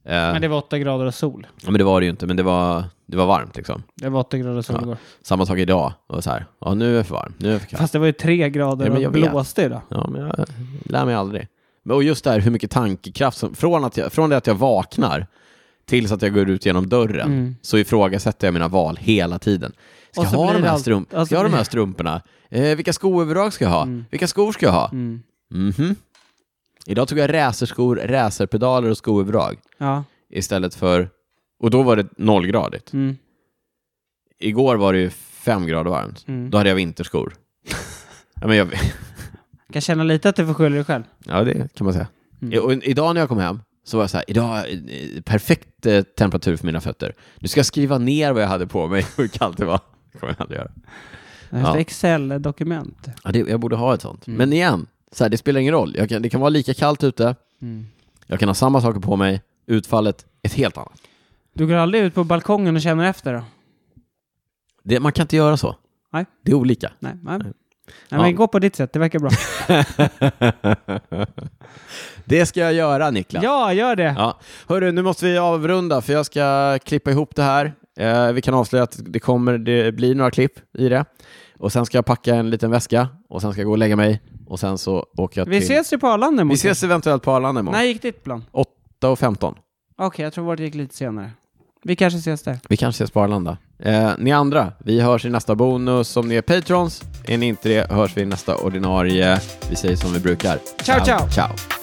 S1: Eh,
S2: Men det var 8 grader och sol.
S1: ja, men det var det ju inte, men det var, det var varmt liksom.
S2: Det var 8 grader och sol
S1: Ja.
S2: igår.
S1: Samma sak idag, och så här, ja nu är jag för varm, nu är jag för kall.
S2: Fast det var ju 3 grader
S1: Ja, men
S2: och
S1: jag vet.
S2: blåste idag.
S1: Ja, men jag lär mig aldrig. Men- Och just det här hur mycket tankekraft som, från, att jag, från det att jag vaknar tills att jag går ut genom dörren,
S2: Mm.
S1: så ifrågasätter jag mina val hela tiden. Ska
S2: Och
S1: jag
S2: så
S1: ha
S2: blir
S1: de
S2: det
S1: här,
S2: allt-
S1: strump-
S2: alltså-
S1: ska jag ha de här strumporna? Eh, vilka skoöverdrag ska jag ha? Vilka skor ska jag ha?
S2: Mm.
S1: Mhm. Idag tog jag racerskor, racerpedaler och skoöverdrag
S2: Ja.
S1: istället för... Och då var det nollgradigt.
S2: Mm.
S1: Igår var det ju fem grader varmt.
S2: Mm.
S1: Då hade jag vinterskor. ja, men jag,
S2: Kan känna lite att du får skylla dig själv.
S1: Ja, det kan man säga.
S2: Mm.
S1: I- Och idag när jag kom hem så var jag så här, idag eh, perfekt eh, temperatur för mina fötter. Nu ska jag skriva ner vad jag hade på mig och hur kallt det var. Det kommer jag aldrig göra.
S2: Det här är
S1: Ja.
S2: ett Excel-dokument.
S1: Ja, det, jag borde ha ett sånt. Men igen, så här, det spelar ingen roll. Jag kan, det kan vara lika kallt ute,
S2: Mm.
S1: jag kan ha samma saker på mig, utfallet ett helt annat.
S2: Du går aldrig ut på balkongen och känner efter då?
S1: Det, man kan inte göra så.
S2: Nej.
S1: Det är olika.
S2: Nej, nej. nej
S1: Ja.
S2: men gå på ditt sätt, det verkar bra.
S1: det ska jag göra, Niklas.
S2: ja, gör det!
S1: Ja. Hörru, nu måste vi avrunda för jag ska klippa ihop det här. Eh, vi kan avslöja att det, kommer, det blir några klipp i det. Och sen ska jag packa en liten väska och sen ska jag gå och lägga mig och sen så åker jag
S2: Vi
S1: till...
S2: ses ju på Arlanda
S1: vi
S2: imorgon.
S1: ses eventuellt på Arlanda imorgon.
S2: När gick ditt plan?
S1: 8.15.
S2: Okej, jag tror vårt gick lite senare. Vi kanske ses där.
S1: Vi kanske ses på Arlanda. Eh, ni andra, vi hörs i nästa bonus om ni är patrons. Är ni inte det hörs vi i nästa ordinarie. Vi säger som vi brukar.
S2: Ciao, ciao.
S1: ciao.